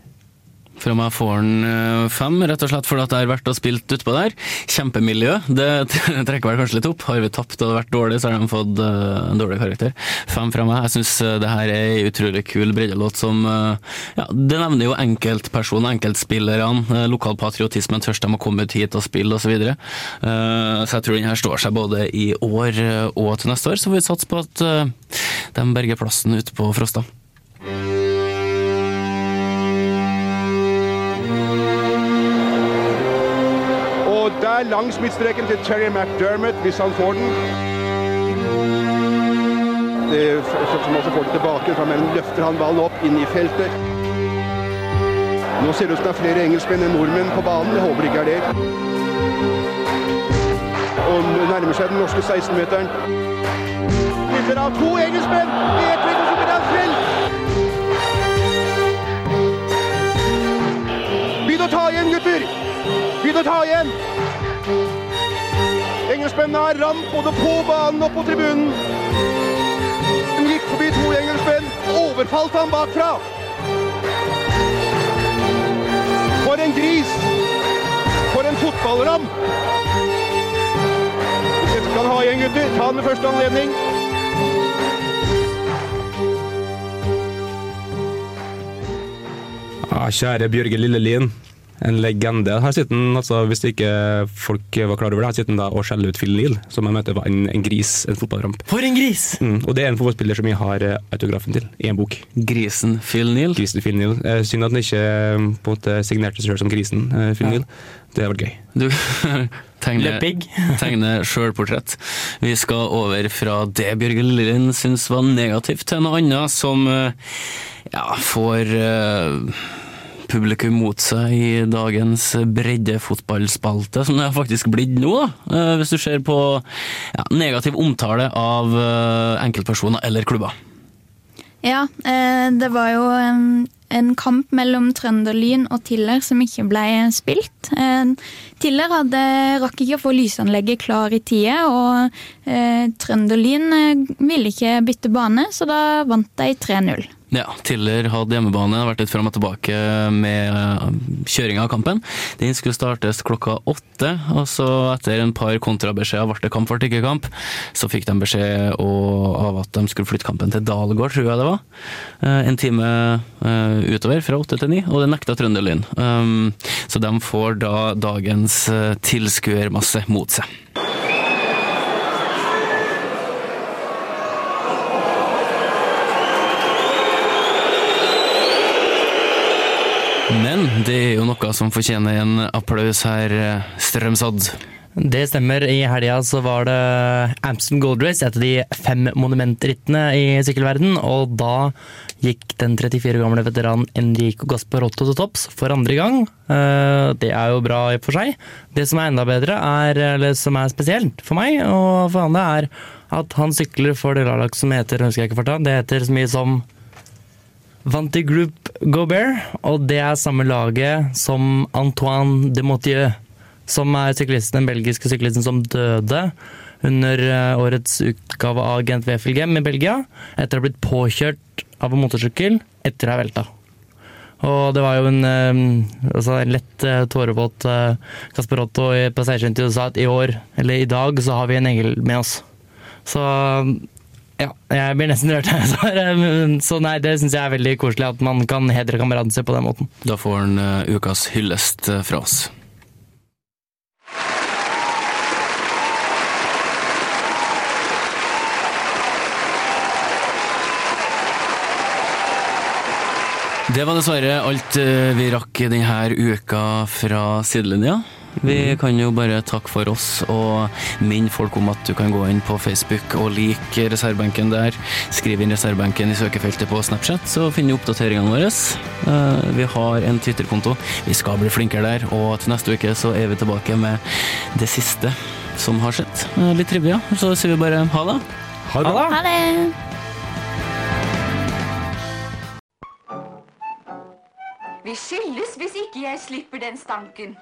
[SPEAKER 5] Fra meg får den eh, fem, rett og slett fordi at jeg har vært og spilt utpå der. Kjempemiljø. Det [laughs] tre- trekker vel kanskje litt opp. Har vi tapt og vært dårlig, så har de fått eh, en dårlig karakter. Fem fra meg. Jeg syns det her er ei utrolig kul breddelåt som eh, ja, Det nevner jo enkeltpersoner, enkeltspillerne. eh, Lokalpatriotismen tørst de å komme ut hit og spille osv. Så, videre. Eh, så jeg tror den her står seg både i år eh, og til neste år. Så får vi satse på at eh, de berger plassen ute på Frosta.
[SPEAKER 14] Og der langs midtstreken til Terry McDermott, hvis han får den. Det er Forsøk som også får den tilbake. Fra mellom løfter han ballen opp inn i feltet. Nå ser det ut som det er flere engelskmenn enn nordmenn på banen. Jeg håper det ikke er det. Og nærmer seg den norske 16-meteren. Vinner av to engelskmenn! Det er Trygve Superdal Begynn å ta igjen, gutter! Begynn å ta igjen! Engelskmennene har ramp både på banen og på tribunen. De gikk forbi to engelskmenn, overfalt ham bakfra. For en gris! For en fotballram! Dette skal han ha igjen, gutter. Ta den ved første anledning.
[SPEAKER 6] Ah, kjære Bjørge Lillelien. En legende. Her sitter han, altså, hvis ikke folk var klar over det, her sitter han da og skjeller ut Phil Neal, som jeg mente var en, en gris, en fotballramp.
[SPEAKER 3] For en gris!
[SPEAKER 6] Mm, og det er en fotballspiller som jeg har eh, autografen til, i en bok.
[SPEAKER 5] Grisen Phil Neal?
[SPEAKER 6] Grisen Phil Neal. Eh, synd at han ikke eh, på en måte signerte seg selv som Grisen eh, Phil Neal. Det hadde vært gøy.
[SPEAKER 5] Du [laughs] tegner, [laughs]
[SPEAKER 3] Leppig.
[SPEAKER 5] tegner sjølportrett. Vi skal over fra det Bjørge Lillelien syns var negativt, til noe annet som eh, ja, får eh, publikum mot seg i dagens breddefotballspalte, som det har faktisk blitt nå, da. Eh, hvis du ser på ja, negativ omtale av eh, enkeltpersoner eller klubber.
[SPEAKER 8] Ja, eh, det var jo eh, en kamp mellom Trønderlyn og Tiller som ikke ble spilt. Eh, Tiller hadde, rakk ikke å få lysanlegget klar i tide, og eh, Trønderlyn eh, ville ikke bytte bane, så da vant de 3-0.
[SPEAKER 5] Ja, Tiller hadde hjemmebane, vært litt fram og tilbake med eh, kjøringa av kampen. Den skulle startes klokka åtte, og så etter en par kontrabeskjeder ble det kamp, ble det ikke kamp. Så fikk de beskjed og, av at de skulle flytte kampen til Dalgård, tror jeg det var. Eh, En time eh, utover, fra åtte til ni, og det nekta Trønderlyn. Um, Så de får da dagens eh, tilskuermasse mot seg. Men det er jo noe som fortjener en applaus her, eh, Strømsad.
[SPEAKER 3] Det stemmer. I helga så var det Amston Gold Race, et av de fem monumentrittene i sykkelverden, og da gikk den 34 år gamle veteran Enrico Gasparotto til topps for andre gang. Eh, Det er jo bra i og for seg. Det som er enda bedre, er, eller som er spesielt for meg og for andre, er at han sykler for det laglaget som heter, husker jeg ikke farta, det heter så mye som Vanti Group Gobert, og det er samme laget som Antoine de Motieu, som er syklisten, den belgiske syklisten som døde under eh, årets utgave av Gent Wefelgem i Belgia, etter å ha blitt påkjørt av en motorsykkel etter å ha velta. Og det var jo en, eh, altså en lett eh, tårevåt eh, Kasper Otto i- på seiersintervjuet sa at i år, eller i dag, så har vi en engel med oss. Så ja, jeg blir nesten rørt. her, så- men- Så nei, det syns jeg er veldig koselig at man kan hedre kameraten sin på den måten.
[SPEAKER 5] Da får han eh, ukas hyllest eh, fra oss. Det var dessverre alt eh, vi rakk denne uka fra sidelinja. Vi kan jo bare takke for oss og minne folk om at du kan gå inn på Facebook og like reservebenken der. Skriv inn reservebenken i søkefeltet på Snapchat, så finner du oppdateringene våre. Eh, Vi har en Twitter-konto. Vi skal bli flinkere der, og til neste uke så er vi tilbake med det siste som har skjedd. Eh, Litt trivelig, ja. Så sier vi bare ha det.
[SPEAKER 6] Ha det bra.
[SPEAKER 8] Ha det!
[SPEAKER 15] Vi skilles hvis ikke jeg slipper den stanken.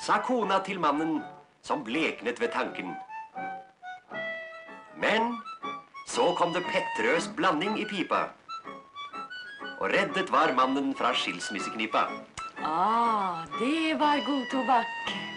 [SPEAKER 14] sa kona til mannen, som bleknet ved tanken. Men så kom det pettrøs blanding i pipa. Og reddet var mannen fra skilsmisseknipa.
[SPEAKER 15] Ah, det var god tobakk.